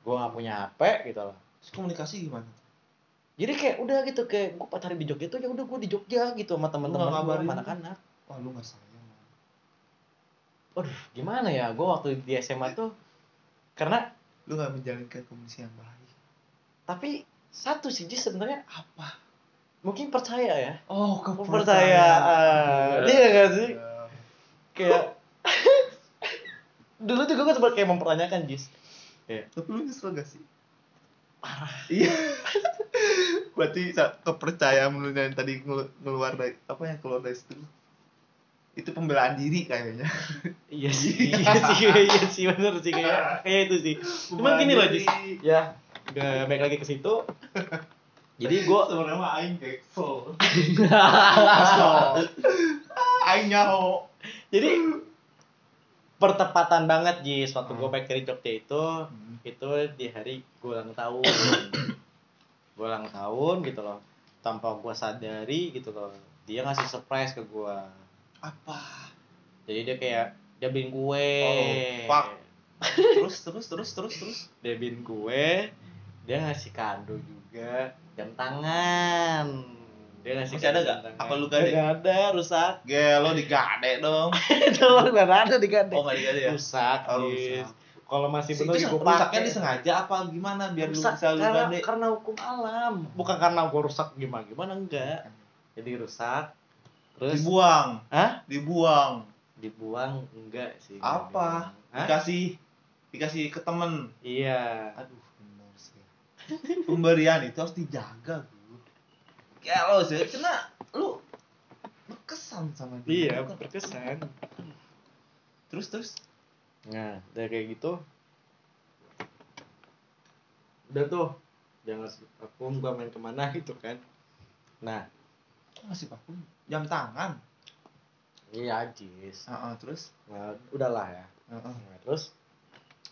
[SPEAKER 1] gue nggak punya HP gitu loh
[SPEAKER 2] terus komunikasi gimana
[SPEAKER 1] jadi kayak udah gitu kayak gue empat hari di Jogja tuh ya udah gue di Jogja gitu sama teman-teman
[SPEAKER 2] nggak
[SPEAKER 1] gue
[SPEAKER 2] ngabarin?
[SPEAKER 1] sama anak-anak
[SPEAKER 2] wah Oh, lu nggak sayang
[SPEAKER 1] gimana ya gue waktu di SMA tuh karena
[SPEAKER 2] lu nggak menjalinkan komunikasi yang baik
[SPEAKER 1] tapi satu sih Ji, sebenarnya apa mungkin percaya ya
[SPEAKER 2] oh Ah,
[SPEAKER 1] kepercayaan iya gak sih kayak dulu juga gue sempat kayak mempertanyakan Jis
[SPEAKER 2] tapi lu nyesel gak sih parah iya berarti sa- kepercayaan lu yang tadi ngelu- keluar dari apa yang keluar dari situ itu pembelaan diri kayaknya
[SPEAKER 1] Iya sih, iya sih, iya sih, bener sih kayak kayak itu sih. Cuman gini loh, Jis.
[SPEAKER 2] Pembelaan diri.
[SPEAKER 1] Ya, udah balik lagi ke situ. Jadi gue
[SPEAKER 2] sebenarnya mah aing kesel aing nyaho
[SPEAKER 1] jadi pertepatan banget Jis waktu gue balik dari Jogja itu
[SPEAKER 2] hmm,
[SPEAKER 1] itu di hari gue ulang tahun. gue ulang tahun gitu loh. Tanpa gue sadari gitu loh. Dia ngasih surprise ke gue.
[SPEAKER 2] apa
[SPEAKER 1] Jadi dia kayak dia beliin kue.
[SPEAKER 2] Oh, fuck. terus terus terus terus terus
[SPEAKER 1] dia beliin kue dia ngasih kado juga jam tangan dia ngasih
[SPEAKER 2] Masih ada
[SPEAKER 1] kado
[SPEAKER 2] nggak?
[SPEAKER 1] jam tangan.
[SPEAKER 2] Apa lu gade?
[SPEAKER 1] Nggak ada rusak
[SPEAKER 2] gelo digade dong
[SPEAKER 1] itu nggak ada digade
[SPEAKER 2] oh nggak digade ya
[SPEAKER 1] iya. rusak
[SPEAKER 2] Oh,
[SPEAKER 1] Jis.
[SPEAKER 2] rusak.
[SPEAKER 1] kalau masih
[SPEAKER 2] itu
[SPEAKER 1] bener gue
[SPEAKER 2] rusaknya disengaja apa gimana biar lu bisa lu
[SPEAKER 1] karena,
[SPEAKER 2] gade
[SPEAKER 1] karena hukum alam bukan karena gue rusak gimana gimana enggak jadi rusak terus
[SPEAKER 2] dibuang
[SPEAKER 1] Hah?
[SPEAKER 2] dibuang
[SPEAKER 1] dibuang enggak sih
[SPEAKER 2] Apa?
[SPEAKER 1] Hah?
[SPEAKER 2] dikasih dikasih ke temen
[SPEAKER 1] iya
[SPEAKER 2] aduh benar sih pemberian itu harus dijaga bro ya lo sih karena lu berkesan sama dia kan-
[SPEAKER 1] iya
[SPEAKER 2] Bukan-
[SPEAKER 1] berkesan
[SPEAKER 2] terus terus
[SPEAKER 1] Nah, udah kayak gitu. Udah tuh, jangan aku gua main kemana gitu kan. Nah,
[SPEAKER 2] kok ngasih paku jam tangan
[SPEAKER 1] iya Jis.
[SPEAKER 2] Heeh, terus
[SPEAKER 1] Nah, udahlah ya.
[SPEAKER 2] Heeh.
[SPEAKER 1] Nah, terus,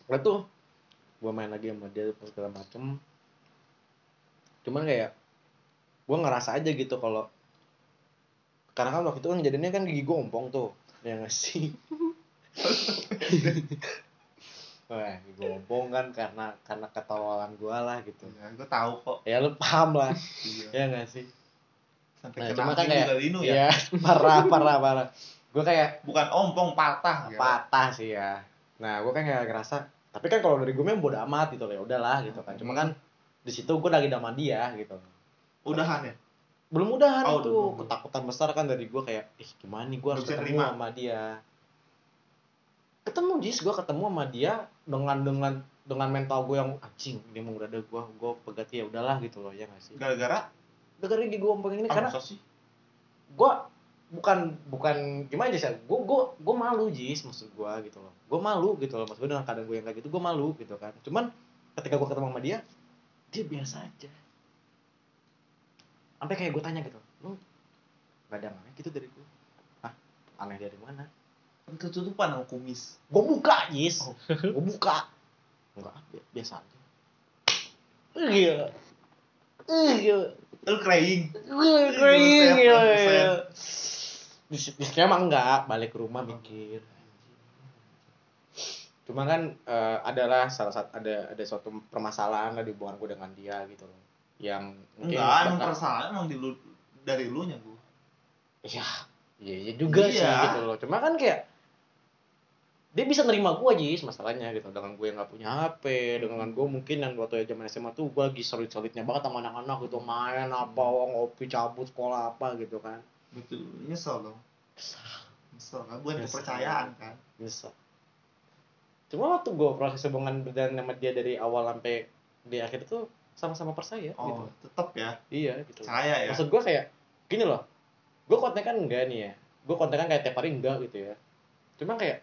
[SPEAKER 1] udah tuh, gua main lagi sama dia terus segala macem. Cuman kayak, gua ngerasa aja gitu kalau karena kan waktu itu kan jadinya kan gigi gompong tuh, ya nggak sih? Wah, gigi gompong kan karena karena ketawalan gua lah gitu.
[SPEAKER 2] ya gue tahu kok
[SPEAKER 1] ya lu paham lah
[SPEAKER 2] iya.
[SPEAKER 1] ya nggak sih
[SPEAKER 2] sampai
[SPEAKER 1] Nah,
[SPEAKER 2] kena
[SPEAKER 1] cuma kan
[SPEAKER 2] angin
[SPEAKER 1] kayak-
[SPEAKER 2] juga linu ya
[SPEAKER 1] ya parah parah parah gue kayak
[SPEAKER 2] bukan ompong patah ya.
[SPEAKER 1] patah sih ya nah gue kan kayak ngerasa tapi kan kalau dari gue memang bodo amat gitu loh ya udahlah gitu kan
[SPEAKER 2] Hmm.
[SPEAKER 1] cuma kan di situ gue lagi sama dia gitu
[SPEAKER 2] udahan ya
[SPEAKER 1] belum udahan
[SPEAKER 2] Oh,
[SPEAKER 1] itu
[SPEAKER 2] belum, belum.
[SPEAKER 1] ketakutan besar kan dari gue kayak ih gimana nih gue harus
[SPEAKER 2] Bisa
[SPEAKER 1] ketemu
[SPEAKER 2] terima.
[SPEAKER 1] sama dia ketemu jis gue ketemu sama dia dengan dengan dengan mental gue yang anjing ini mau udah ada gue gue pegati ya udahlah gitu loh ya nggak sih
[SPEAKER 2] gara-gara
[SPEAKER 1] gara-gara di gue ini
[SPEAKER 2] ah,
[SPEAKER 1] karena
[SPEAKER 2] masa sih
[SPEAKER 1] gue bukan bukan gimana ya, sih gue gue gue malu jis maksud gue gitu loh gue malu gitu loh maksud gue dengan keadaan gue yang kayak gitu gue malu gitu kan cuman ketika gue ketemu sama dia dia biasa aja sampai kayak gue tanya gitu lu gak ada yang aneh gitu dari gue ah aneh dari mana
[SPEAKER 2] ketutupan sama kumis
[SPEAKER 1] gue buka jis
[SPEAKER 2] Oh.
[SPEAKER 1] gue buka enggak bi- biasa aja iya iya
[SPEAKER 2] lu crying
[SPEAKER 1] Gue
[SPEAKER 2] Buset,
[SPEAKER 1] kering ya.
[SPEAKER 2] buset.
[SPEAKER 1] Bis- Biasanya emang enggak balik ke rumah mikir. Cuma kan eh, adalah salah satu ada ada suatu permasalahan lah di hubungan gue dengan dia gitu loh. Yang mungkin
[SPEAKER 2] enggak emang
[SPEAKER 1] bakal-
[SPEAKER 2] perasaan emang di lu, dari lu nya gua
[SPEAKER 1] Iya, iya iya juga sih
[SPEAKER 2] Iya.
[SPEAKER 1] gitu loh. Cuma kan kayak dia bisa nerima gue aja masalahnya gitu dengan gue yang gak punya HP dengan gue mungkin yang waktu zaman SMA tuh gue lagi solid-solidnya banget sama anak-anak gitu main apa ngopi cabut sekolah apa gitu kan
[SPEAKER 2] betul nyesel dong nyesel kan bukan
[SPEAKER 1] Nyesel.
[SPEAKER 2] kepercayaan kan
[SPEAKER 1] nyesel cuma waktu gue proses hubungan berjalan sama dia dari awal sampai di akhir itu sama-sama percaya gitu
[SPEAKER 2] oh tetap ya
[SPEAKER 1] iya gitu
[SPEAKER 2] percaya ya
[SPEAKER 1] maksud gue kayak gini loh gue konten kan enggak nih ya gue konten kan kayak tiap hari enggak gitu ya cuma kayak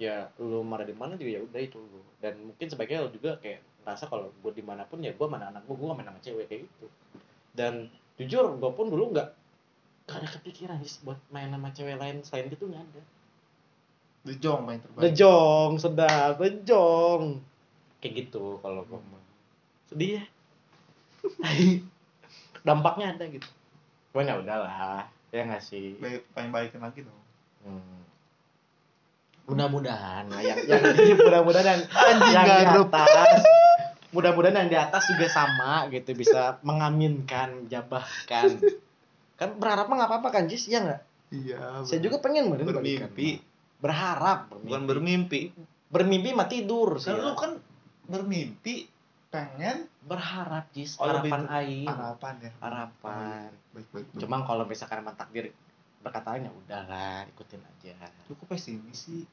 [SPEAKER 1] ya lu marah di mana juga ya udah itu lu dan mungkin sebaiknya lu juga kayak ngerasa kalau gue dimanapun ya gue mana anak gue gue main sama cewek kayak gitu dan jujur gue pun dulu nggak gak ada kepikiran Jis, buat main sama cewek lain selain itu nggak ada
[SPEAKER 2] the jong paling terbaik
[SPEAKER 1] Dejong, sedap, dejong. Kayak gitu kalau gua mah. Sedih ya. Dampaknya ada gitu. Cuman ya udahlah, ya nggak sih.
[SPEAKER 2] Baik- paling baikin lagi dong
[SPEAKER 1] Hmm. Mudah-mudahan lah yang, yang mudah-mudahan yang, yang di
[SPEAKER 2] garuk.
[SPEAKER 1] atas. Mudah-mudahan yang di atas juga sama gitu bisa mengaminkan, jabahkan. Kan berharap mah nggak apa-apa kan Jis, ya nggak?
[SPEAKER 2] iya
[SPEAKER 1] Saya juga pengen meren balikan.
[SPEAKER 2] bermimpi
[SPEAKER 1] Berharap,
[SPEAKER 2] bukan
[SPEAKER 1] bermimpi.
[SPEAKER 2] bermimpi
[SPEAKER 1] bermimpi mah tidur sih.
[SPEAKER 2] kan
[SPEAKER 1] ya.
[SPEAKER 2] lu kan bermimpi pengen
[SPEAKER 1] berharap jis
[SPEAKER 2] Oh, lebih
[SPEAKER 1] harapan
[SPEAKER 2] ke-
[SPEAKER 1] aing
[SPEAKER 2] harapan ya
[SPEAKER 1] Harapan.
[SPEAKER 2] baik baik baik.
[SPEAKER 1] cuma kalau misalkan emang takdir
[SPEAKER 2] ya
[SPEAKER 1] berkatanya udahlah ikutin aja
[SPEAKER 2] lu kok pesimis sih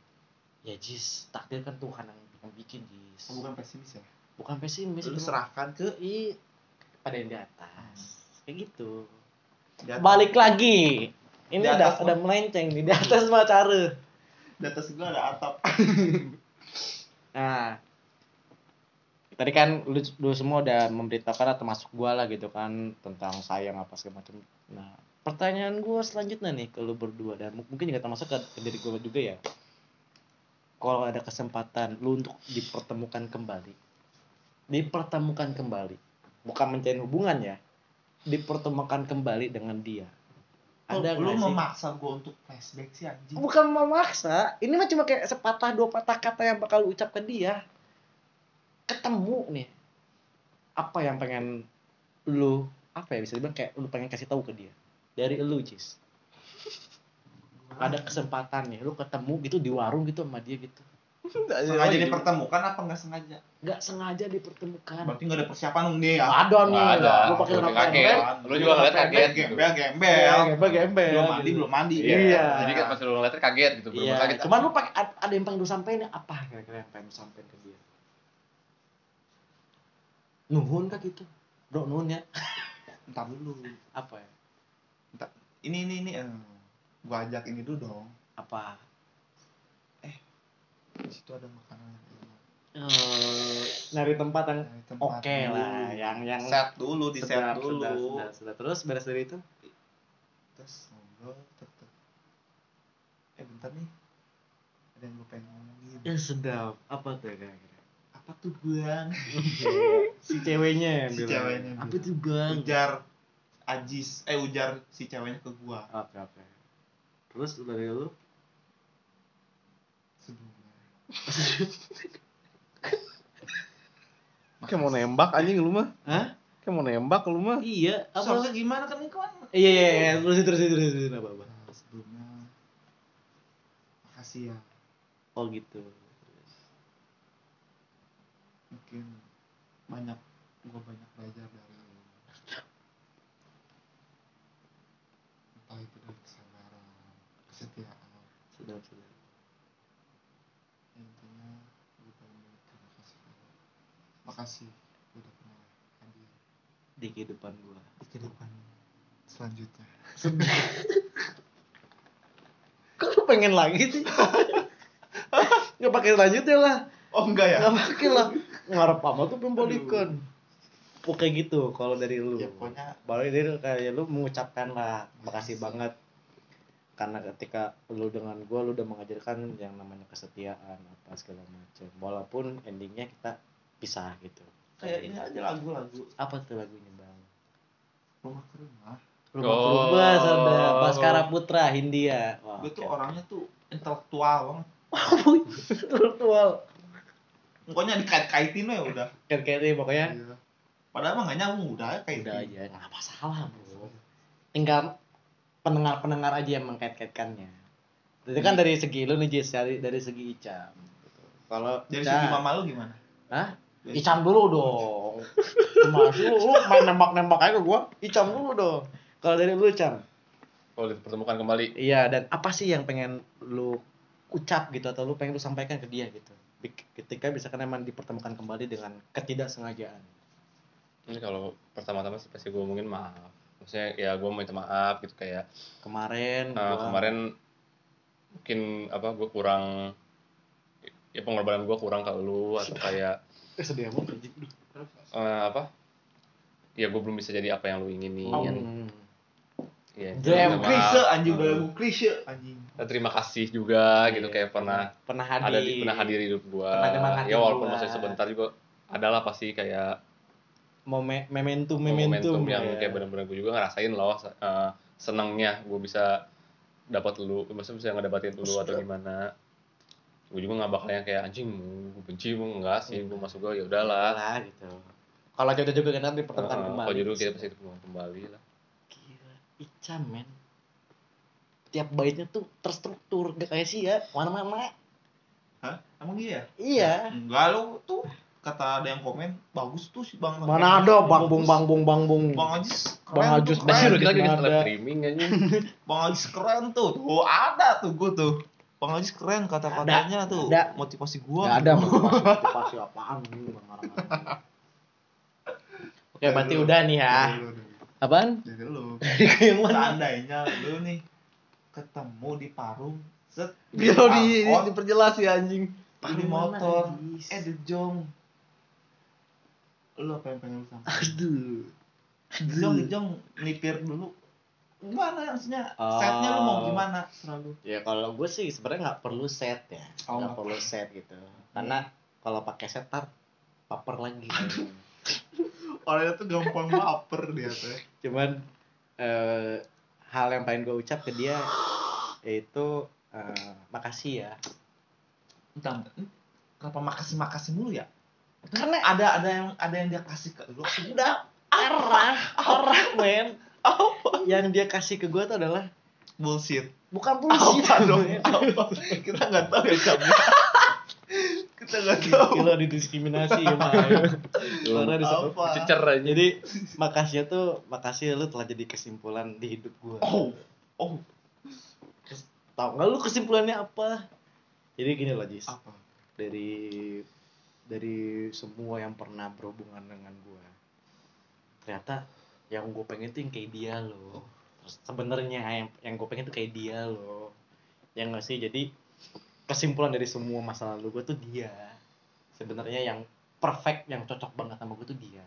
[SPEAKER 1] ya jis takdir kan Tuhan yang, yang bikin jis
[SPEAKER 2] Oh, bukan pesimis ya
[SPEAKER 1] bukan pesimis itu.
[SPEAKER 2] lu serahkan ke
[SPEAKER 1] i pada yang di atas kayak gitu
[SPEAKER 2] di atas.
[SPEAKER 1] balik lagi ini
[SPEAKER 2] Di
[SPEAKER 1] udah
[SPEAKER 2] atas,
[SPEAKER 1] udah melenceng nih di atas mah cara
[SPEAKER 2] di atas gua ada atap
[SPEAKER 1] Nah, tadi kan lu, lu semua udah memberitakan atau masuk gua lah gitu kan tentang sayang apa segala macam. Nah, pertanyaan gua selanjutnya nih ke lu berdua dan mu- mungkin juga termasuk ke, ke diri gua juga ya. Kalau ada kesempatan lu untuk dipertemukan kembali. Dipertemukan kembali. Bukan menjalin hubungan ya. Dipertemukan kembali dengan dia. Ada
[SPEAKER 2] Oh, lu, lu
[SPEAKER 1] nggak sih?
[SPEAKER 2] memaksa gua untuk flashback sih anjing
[SPEAKER 1] Bukan memaksa, ini mah cuma kayak sepatah dua patah kata yang bakal lu ucap ke dia. Ketemu nih. Apa yang pengen lu apa ya bisa dibilang kayak lu pengen kasih tahu ke dia dari lu Jis ada kesempatan nih lu ketemu gitu di warung gitu sama dia gitu Iya,
[SPEAKER 2] sengaja dipertemukan apa nggak sengaja
[SPEAKER 1] nggak sengaja dipertemukan
[SPEAKER 2] berarti nggak ada persiapan dong nih ya
[SPEAKER 1] ada nih
[SPEAKER 3] Nggak ada.
[SPEAKER 1] Kan. Ah, lu pakai
[SPEAKER 3] Lu
[SPEAKER 1] celana pendek
[SPEAKER 3] pakai kaget. Lu juga ngeliat kaget.
[SPEAKER 2] gembel
[SPEAKER 1] Iya,
[SPEAKER 2] gembel
[SPEAKER 1] gembel, gembel.
[SPEAKER 2] belum mandi belum mandi
[SPEAKER 1] Iya. Iya.
[SPEAKER 3] Jadi kan pas lu ngeliatnya kaget gitu,
[SPEAKER 1] iya
[SPEAKER 3] belum kaget.
[SPEAKER 1] cuman lu pakai ad- ada yang pengen lu sampein apa kira-kira yang pengen lu sampein ke dia nuhun kah gitu bro nuhun ya
[SPEAKER 2] entar dulu
[SPEAKER 1] apa ya
[SPEAKER 2] ini ini ini eh, gua ajak ini dulu dong
[SPEAKER 1] apa
[SPEAKER 2] di situ ada makanan
[SPEAKER 1] eh nyari tempat yang
[SPEAKER 2] Cari tempat
[SPEAKER 1] oke
[SPEAKER 2] dulu.
[SPEAKER 1] lah yang yang
[SPEAKER 2] set dulu di set
[SPEAKER 1] sedap,
[SPEAKER 2] dulu
[SPEAKER 1] sedap, sedap, sedap. terus beres dari itu
[SPEAKER 2] terus ngobrol tek, tek. eh bentar nih ada yang gue pengen ngomongin
[SPEAKER 1] ya sedap apa tuh kira-kira
[SPEAKER 2] apa tuh bang
[SPEAKER 1] si ceweknya yang
[SPEAKER 2] Si
[SPEAKER 1] bilang
[SPEAKER 2] ceweknya
[SPEAKER 1] apa
[SPEAKER 2] bilang.
[SPEAKER 1] tuh bang
[SPEAKER 2] ujar Ajis eh ujar si ceweknya ke gua
[SPEAKER 1] oke oke terus dari lu
[SPEAKER 2] sebelumnya
[SPEAKER 4] Kayak mau nembak anjing lu mah.
[SPEAKER 1] Hah?
[SPEAKER 4] Kayak mau nembak lu mah.
[SPEAKER 1] iya apa
[SPEAKER 2] Soalnya gimana kan ini kan
[SPEAKER 1] iya iya iya terus terus terus terus terus, apa apa
[SPEAKER 2] Nah, sebelumnya makasih ya
[SPEAKER 1] oh gitu
[SPEAKER 2] mungkin banyak gue banyak belajar dari lu. entah itu dari kesabaran kesetiaan
[SPEAKER 1] sedap sedap
[SPEAKER 2] intinya gue pengen terima kasih ke lu. makasih gue udah pernah hadir
[SPEAKER 1] di kehidupan gua
[SPEAKER 2] di kehidupan selanjutnya
[SPEAKER 1] pengen lagi sih? Gak pakai lanjutnya lah.
[SPEAKER 2] oh enggak ya
[SPEAKER 1] Gak pakai lah. Ngarep sama tuh pembalikan. Oke gitu kalau dari lu.
[SPEAKER 2] ya pokoknya
[SPEAKER 1] Balik dari lu, kayak lu mengucapkan lah makasih banget karena ketika lu dengan gua lu udah mengajarkan yang namanya kesetiaan apa segala macam walaupun endingnya kita pisah gitu
[SPEAKER 2] kayak ini aja lagu-lagu
[SPEAKER 1] apa tuh lagunya bang
[SPEAKER 2] rumah ke rumah
[SPEAKER 1] rumah
[SPEAKER 3] Oh.
[SPEAKER 1] berubah ada Baskara Putra Hindia Wah,
[SPEAKER 2] gue tuh
[SPEAKER 1] oke.
[SPEAKER 2] orangnya tuh intelektual banget
[SPEAKER 1] virtual
[SPEAKER 2] pokoknya dikait-kaitin ya udah
[SPEAKER 1] kan kayak ini pokoknya
[SPEAKER 2] Iya, padahal mah gak nyambung udah aja kaitin
[SPEAKER 1] udah aja nggak masalah bro tinggal pendengar pendengar aja yang mengkait-kaitkannya itu kan dari segi lu nih Jis dari, dari segi Icam gitu. kalau
[SPEAKER 2] dari
[SPEAKER 1] Ica-
[SPEAKER 2] segi mama lu gimana
[SPEAKER 1] Hah?
[SPEAKER 2] Dari-
[SPEAKER 1] Icam dulu dong. Mas lu, lu main nembak-nembak aja ke gua. Icam dulu dong. Kalau dari lu Cam.
[SPEAKER 3] Kalau dipertemukan kembali,
[SPEAKER 1] Iya, dan apa sih yang pengen lu ucap gitu atau lu pengen lu sampaikan ke dia gitu? Bik- Ketika misalkan emang dipertemukan kembali dengan ketidaksengajaan.
[SPEAKER 3] ini kalau pertama-tama sih pasti gue ngomongin maaf. Maksudnya ya gue minta maaf gitu
[SPEAKER 1] Ah,
[SPEAKER 3] kayak
[SPEAKER 1] Kemarin
[SPEAKER 3] Nah,
[SPEAKER 1] gua-
[SPEAKER 3] kemarin mungkin apa gue kurang ya pengorbanan gue kurang ke lu atau kayak
[SPEAKER 1] Eh, sedih amat anjing.
[SPEAKER 3] eh, apa ya gue belum bisa jadi apa yang lu ingini
[SPEAKER 1] Oh,
[SPEAKER 3] ya,
[SPEAKER 1] hmm.
[SPEAKER 3] ya,
[SPEAKER 1] Damn,
[SPEAKER 3] minta maaf.
[SPEAKER 2] klise anjing
[SPEAKER 3] Hmm.
[SPEAKER 2] belagu klise anjing
[SPEAKER 3] Dan Eh, terima kasih juga gitu
[SPEAKER 1] Iya,
[SPEAKER 3] kayak pernah
[SPEAKER 1] pernah hadir.
[SPEAKER 3] ada di, pernah hadir di hidup gue
[SPEAKER 1] Pernah nyemangati
[SPEAKER 3] ya walaupun
[SPEAKER 1] gua.
[SPEAKER 3] masih sebentar juga adalah pasti kayak
[SPEAKER 1] Momen momentum
[SPEAKER 3] momentum,
[SPEAKER 1] momentum,
[SPEAKER 3] yang
[SPEAKER 1] ya.
[SPEAKER 3] kayak benar-benar gue juga ngerasain loh se- eh, senengnya gue bisa dapat lu maksudnya bisa ngedapatin lu atau gimana gue juga nggak bakal yang kayak anjing gue benci mau enggak
[SPEAKER 1] Iya.
[SPEAKER 3] sih gue masuk gue ya udahlah
[SPEAKER 1] lah gitu. Kalau kan, jodoh-jodoh kita nanti
[SPEAKER 3] Eh,
[SPEAKER 1] dipertemukan Iya, kembali.
[SPEAKER 3] kalau jodoh kita pasti ketemu kembali lah
[SPEAKER 1] Gila, Ica men Tiap baitnya tuh terstruktur Gak kayak sih ya, mana-mana
[SPEAKER 2] hah emang iya ya?
[SPEAKER 1] Iya
[SPEAKER 2] enggak lu tuh kata ada yang komen bagus tuh si bang
[SPEAKER 1] Mana ada bang bung bang bung bang bung
[SPEAKER 2] bang Ajis keren
[SPEAKER 1] Bang
[SPEAKER 2] tuh,
[SPEAKER 1] Ajis,
[SPEAKER 2] keren.
[SPEAKER 1] Bang
[SPEAKER 3] Masih lu kita
[SPEAKER 1] kita
[SPEAKER 3] lagi
[SPEAKER 1] ada.
[SPEAKER 3] live streaming aja
[SPEAKER 2] Bang Ajis keren tuh. Tuh ada tuh gua tuh. Bang Ajis keren kata-katanya tuh.
[SPEAKER 1] ada.
[SPEAKER 2] Motivasi
[SPEAKER 1] Gak
[SPEAKER 2] gua.
[SPEAKER 1] ada motivasi apaan ini, bang orang-orang. Oke berarti udah nih ya
[SPEAKER 2] Dari lu, dari lu,
[SPEAKER 1] Apaan?
[SPEAKER 2] Dari lu.
[SPEAKER 1] Yang mana?
[SPEAKER 2] Seandainya lu nih ketemu di Parung, set
[SPEAKER 4] Biar di,
[SPEAKER 2] angkot,
[SPEAKER 4] di- diperjelas ya anjing.
[SPEAKER 2] di motor,
[SPEAKER 1] Gis?
[SPEAKER 2] eh di jong. Lu apa yang pengen lu sampaikan?
[SPEAKER 1] Aduh
[SPEAKER 2] Di jong, di jong nipir dulu. Gimana maksudnya? Setnya lu mau gimana? Selalu.
[SPEAKER 1] Ya kalau gue sih sebenarnya nggak perlu set ya, nggak
[SPEAKER 2] Oh, nggak
[SPEAKER 1] perlu set gitu. Karena kalau pakai set tar paper lagi.
[SPEAKER 2] Orangnya tuh gampang baper dia tuh.
[SPEAKER 1] cuman eh, hal yang paling gue ucap ke dia yaitu eh, makasih ya
[SPEAKER 2] Entah, kenapa makasih-makasih mulu ya?
[SPEAKER 1] karena
[SPEAKER 2] ada ada yang ada yang dia kasih ke lu
[SPEAKER 1] udah arah arah men yang dia kasih ke gue tuh adalah
[SPEAKER 2] bullshit
[SPEAKER 1] bukan bullshit
[SPEAKER 2] apa dong
[SPEAKER 1] men.
[SPEAKER 2] apa kita nggak tahu ya kamu kita nggak tahu
[SPEAKER 1] gila didiskriminasi ya Mai. Karena di situ-
[SPEAKER 2] apa
[SPEAKER 3] cecer aja
[SPEAKER 1] jadi makasihnya tuh makasih ya lu telah jadi kesimpulan di hidup gue
[SPEAKER 2] oh oh
[SPEAKER 1] tau nggak lu kesimpulannya apa jadi gini loh Jis
[SPEAKER 2] apa
[SPEAKER 1] dari dari semua yang pernah berhubungan dengan gue ternyata yang gue pengen tuh yang kayak dia loh terus sebenarnya yang yang gue pengen tuh kayak dia loh yang nggak sih jadi kesimpulan dari semua masa lalu gue tuh dia sebenarnya yang perfect yang cocok banget sama gue tuh dia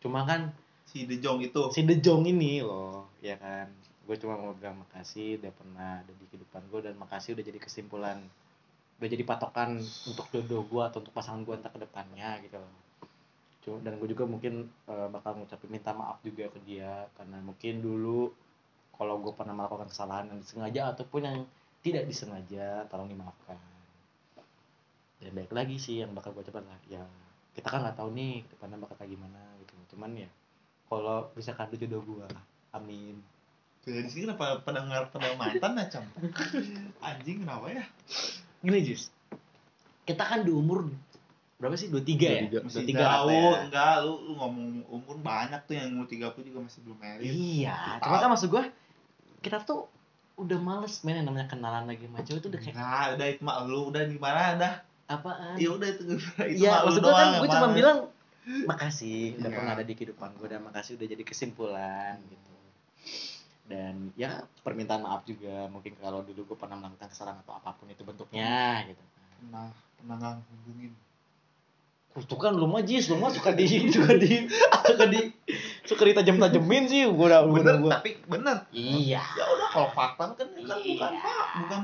[SPEAKER 1] cuma kan
[SPEAKER 2] si De Jong itu
[SPEAKER 1] si De Jong ini loh ya kan gue cuma mau bilang makasih udah pernah ada di kehidupan gue dan makasih udah jadi kesimpulan udah jadi patokan untuk jodoh gue atau untuk pasangan gue ntar kedepannya gitu loh cuma dan gue juga mungkin eh, bakal ngucapin minta maaf juga ke dia karena mungkin dulu kalau gue pernah melakukan kesalahan yang disengaja ataupun yang tidak disengaja tolong dimaafkan dan baik lagi sih yang bakal gue coba lah ya kita kan nggak tahu nih kedepannya bakal kayak gimana gitu cuman ya kalau bisa kado jodoh gua amin
[SPEAKER 2] jadi sini kenapa pendengar ya, pendengar mantan macam anjing kenapa ya
[SPEAKER 1] gini Jis kita kan di umur berapa sih 23 ya
[SPEAKER 3] 23.
[SPEAKER 2] masih
[SPEAKER 1] 23
[SPEAKER 2] jauh
[SPEAKER 1] apa ya?
[SPEAKER 2] enggak lu, lu ngomong umur banyak tuh yang umur 30 juga masih belum married
[SPEAKER 1] iya
[SPEAKER 2] Ah.
[SPEAKER 1] cuma kan maksud gua kita tuh udah males main yang namanya kenalan lagi sama cowok itu udah kayak
[SPEAKER 2] Nah, udah itu mah lu udah gimana dah.
[SPEAKER 1] apaan
[SPEAKER 2] Ya udah itu itu
[SPEAKER 1] Iya,
[SPEAKER 2] mah lu
[SPEAKER 1] maksud gue kan
[SPEAKER 2] doang
[SPEAKER 1] gue
[SPEAKER 2] yang
[SPEAKER 1] cuma
[SPEAKER 2] males.
[SPEAKER 1] bilang makasih udah
[SPEAKER 2] Iya.
[SPEAKER 1] pernah ada di kehidupan gue dan makasih udah jadi kesimpulan gitu. dan ya permintaan maaf juga mungkin kalau dulu gue pernah melakukan kesalahan atau apapun itu bentuknya gitu
[SPEAKER 2] pernah pernah nggak hubungin
[SPEAKER 1] itu kan lu mah jis lu mah suka di suka di suka di suka ditajam tajemin sih gue udah gua
[SPEAKER 2] bener
[SPEAKER 1] udah gua
[SPEAKER 2] tapi bener
[SPEAKER 1] iya
[SPEAKER 2] ya udah kalau fakta kan itu kan bukan
[SPEAKER 1] Iya.
[SPEAKER 2] pak bukan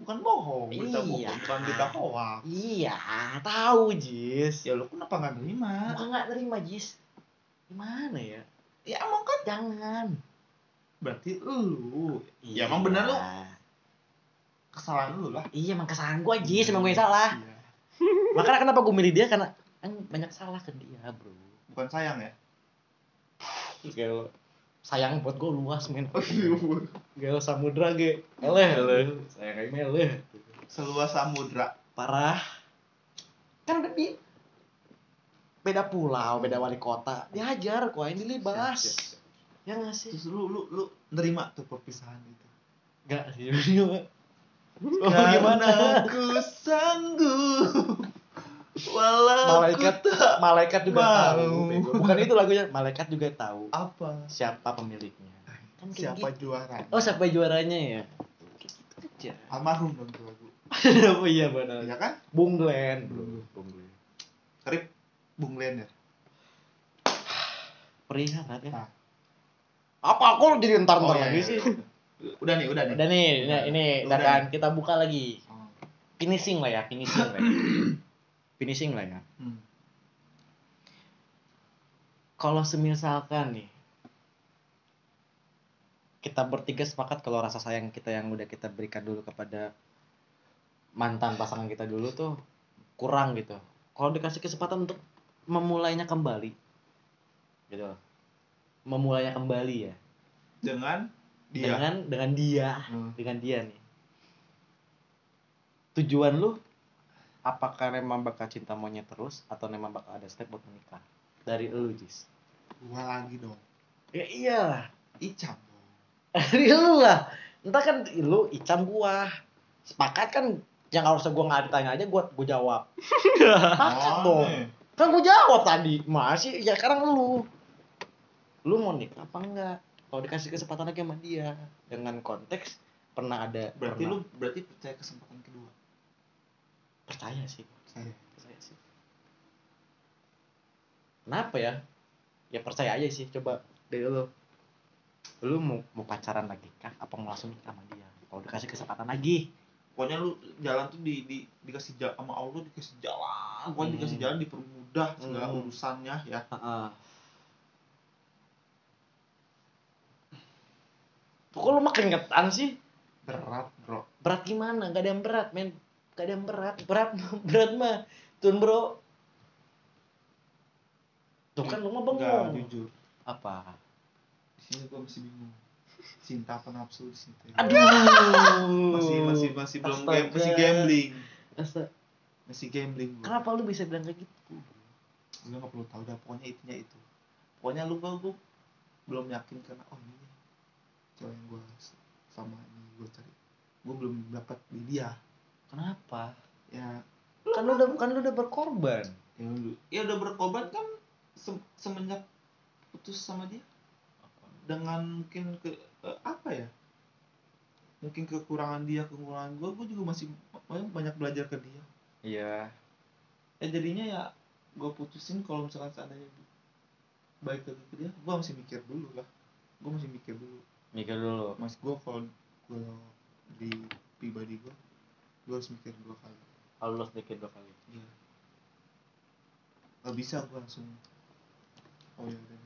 [SPEAKER 2] bukan bohong berita
[SPEAKER 1] Iya.
[SPEAKER 2] bohong bukan berita hoax
[SPEAKER 1] iya tahu jis
[SPEAKER 2] ya lu kenapa nggak terima
[SPEAKER 1] gua nggak terima jis gimana ya
[SPEAKER 2] ya emang kan
[SPEAKER 1] jangan
[SPEAKER 2] berarti lu Ya, emang bener lu. kesalahan lu lah
[SPEAKER 1] iya emang kesalahan gue jis emang gue yang salah
[SPEAKER 2] Iya.
[SPEAKER 1] makanya kenapa gue milih dia karena kan banyak salah ke dia bro
[SPEAKER 2] bukan sayang ya
[SPEAKER 1] Gel. sayang buat gue luas men Gel samudra ge eleh eleh sayang kayak eleh
[SPEAKER 2] seluas samudra
[SPEAKER 1] parah kan udah di beda pulau beda wali kota diajar kok ini
[SPEAKER 2] Siap,
[SPEAKER 1] libas
[SPEAKER 2] siap, siap.
[SPEAKER 1] ya nggak sih
[SPEAKER 2] terus lu lu lu nerima tuh perpisahan itu
[SPEAKER 1] nggak sih bener. oh,
[SPEAKER 2] Karena
[SPEAKER 1] gimana
[SPEAKER 2] aku sanggup walau
[SPEAKER 1] malaikat malaikat juga
[SPEAKER 2] Mau.
[SPEAKER 1] tahu bego. bukan itu lagunya malaikat juga tahu
[SPEAKER 2] apa
[SPEAKER 1] siapa pemiliknya kan kayak
[SPEAKER 2] siapa
[SPEAKER 1] gitu.
[SPEAKER 2] juara
[SPEAKER 1] oh siapa juaranya ya Kayak gitu aja
[SPEAKER 2] almarhum dong tuh lagu
[SPEAKER 1] oh iya benar
[SPEAKER 2] ya kan
[SPEAKER 1] Bung Glenn
[SPEAKER 2] Bung-
[SPEAKER 1] Bung Glenn
[SPEAKER 2] Rip Bung Len ya
[SPEAKER 1] perihal ya
[SPEAKER 2] Nah.
[SPEAKER 1] apa aku jadi entar
[SPEAKER 2] Oh,
[SPEAKER 1] entar
[SPEAKER 2] iya,
[SPEAKER 1] lagi
[SPEAKER 2] iya,
[SPEAKER 1] sih
[SPEAKER 2] iya. udah nih udah nih
[SPEAKER 1] udah nih ini, ini
[SPEAKER 2] Udah.
[SPEAKER 1] dataan kita buka lagi
[SPEAKER 2] Oh.
[SPEAKER 1] finishing lah ya finishing lah ya. finishing lah ya
[SPEAKER 2] Hmm.
[SPEAKER 1] kalau semisalkan nih kita bertiga sepakat kalau rasa sayang kita yang udah kita berikan dulu kepada mantan pasangan kita dulu tuh kurang gitu kalau dikasih kesempatan untuk memulainya kembali gitu loh. memulainya kembali ya
[SPEAKER 2] dengan dia
[SPEAKER 1] dengan dengan dia
[SPEAKER 2] Hmm.
[SPEAKER 1] dengan dia nih tujuan lu apakah memang bakal cinta monyet terus atau memang bakal ada step buat menikah dari lu Jis
[SPEAKER 2] gua lagi dong
[SPEAKER 1] ya iyalah
[SPEAKER 2] Icam dong
[SPEAKER 1] dari lu lah entah kan lu icam gua sepakat kan yang kalau harusnya gua nggak ditanya aja gua gua jawab sepakat dong
[SPEAKER 2] Aneh.
[SPEAKER 1] kan gua jawab tadi masih ya sekarang lu lu mau nikah apa enggak kalau dikasih kesempatan lagi sama dia dengan konteks pernah ada
[SPEAKER 2] berarti
[SPEAKER 1] pernah-
[SPEAKER 2] lu berarti percaya kesempatan kedua
[SPEAKER 1] percaya sih
[SPEAKER 2] saya
[SPEAKER 1] percaya sih kenapa ya ya percaya aja sih coba dari lu lu mau mau pacaran lagi kah apa mau langsung nikah sama dia kalau dikasih kesempatan lagi
[SPEAKER 2] pokoknya lu jalan tuh di, di dikasih jalan sama Allah dikasih jalan pokoknya
[SPEAKER 1] Hmm.
[SPEAKER 2] dikasih jalan dipermudah segala
[SPEAKER 1] Hmm.
[SPEAKER 2] urusannya ya
[SPEAKER 1] Kok lu mah keringetan sih?
[SPEAKER 2] berat bro
[SPEAKER 1] Berat gimana? Gak ada yang berat, men. Gak ada yang berat. Berat, berat mah. Tun, bro. Tuh kan lu mah
[SPEAKER 2] Enggak,
[SPEAKER 1] bengong.
[SPEAKER 2] jujur
[SPEAKER 1] Apa?
[SPEAKER 2] di sini gua masih bingung cinta apa nafsu di sini
[SPEAKER 1] Aduh.
[SPEAKER 2] masih masih masih belum
[SPEAKER 1] Astaga.
[SPEAKER 2] game, masih gambling
[SPEAKER 1] Asa-
[SPEAKER 2] masih gambling gua.
[SPEAKER 1] Kenapa lu bisa bilang kayak gitu?
[SPEAKER 2] gue gak perlu tahu dah pokoknya intinya itu pokoknya lu gue, gue belum yakin karena oh ini cewek yang gue sama ini gue cari gue belum dapat di dia
[SPEAKER 1] Kenapa?
[SPEAKER 2] ya
[SPEAKER 1] Kan lu udah kan lu udah berkorban.
[SPEAKER 2] ya, lu- ya udah berkorban kan se- semenjak putus sama dia dengan mungkin ke eh, apa ya mungkin kekurangan dia kekurangan gue gue juga masih masih banyak belajar ke dia
[SPEAKER 1] Iya.
[SPEAKER 2] ya jadinya ya gue putusin kalau misalkan seandainya baik lagi ke dia gue masih mikir dulu lah gue masih mikir dulu
[SPEAKER 1] Mikir dulu.
[SPEAKER 2] mas gue kalau gue di pribadi gue gue harus mikir dua kali
[SPEAKER 1] Halus dikit dua kali.
[SPEAKER 2] Iya. Gak bisa gue langsung oh ya udah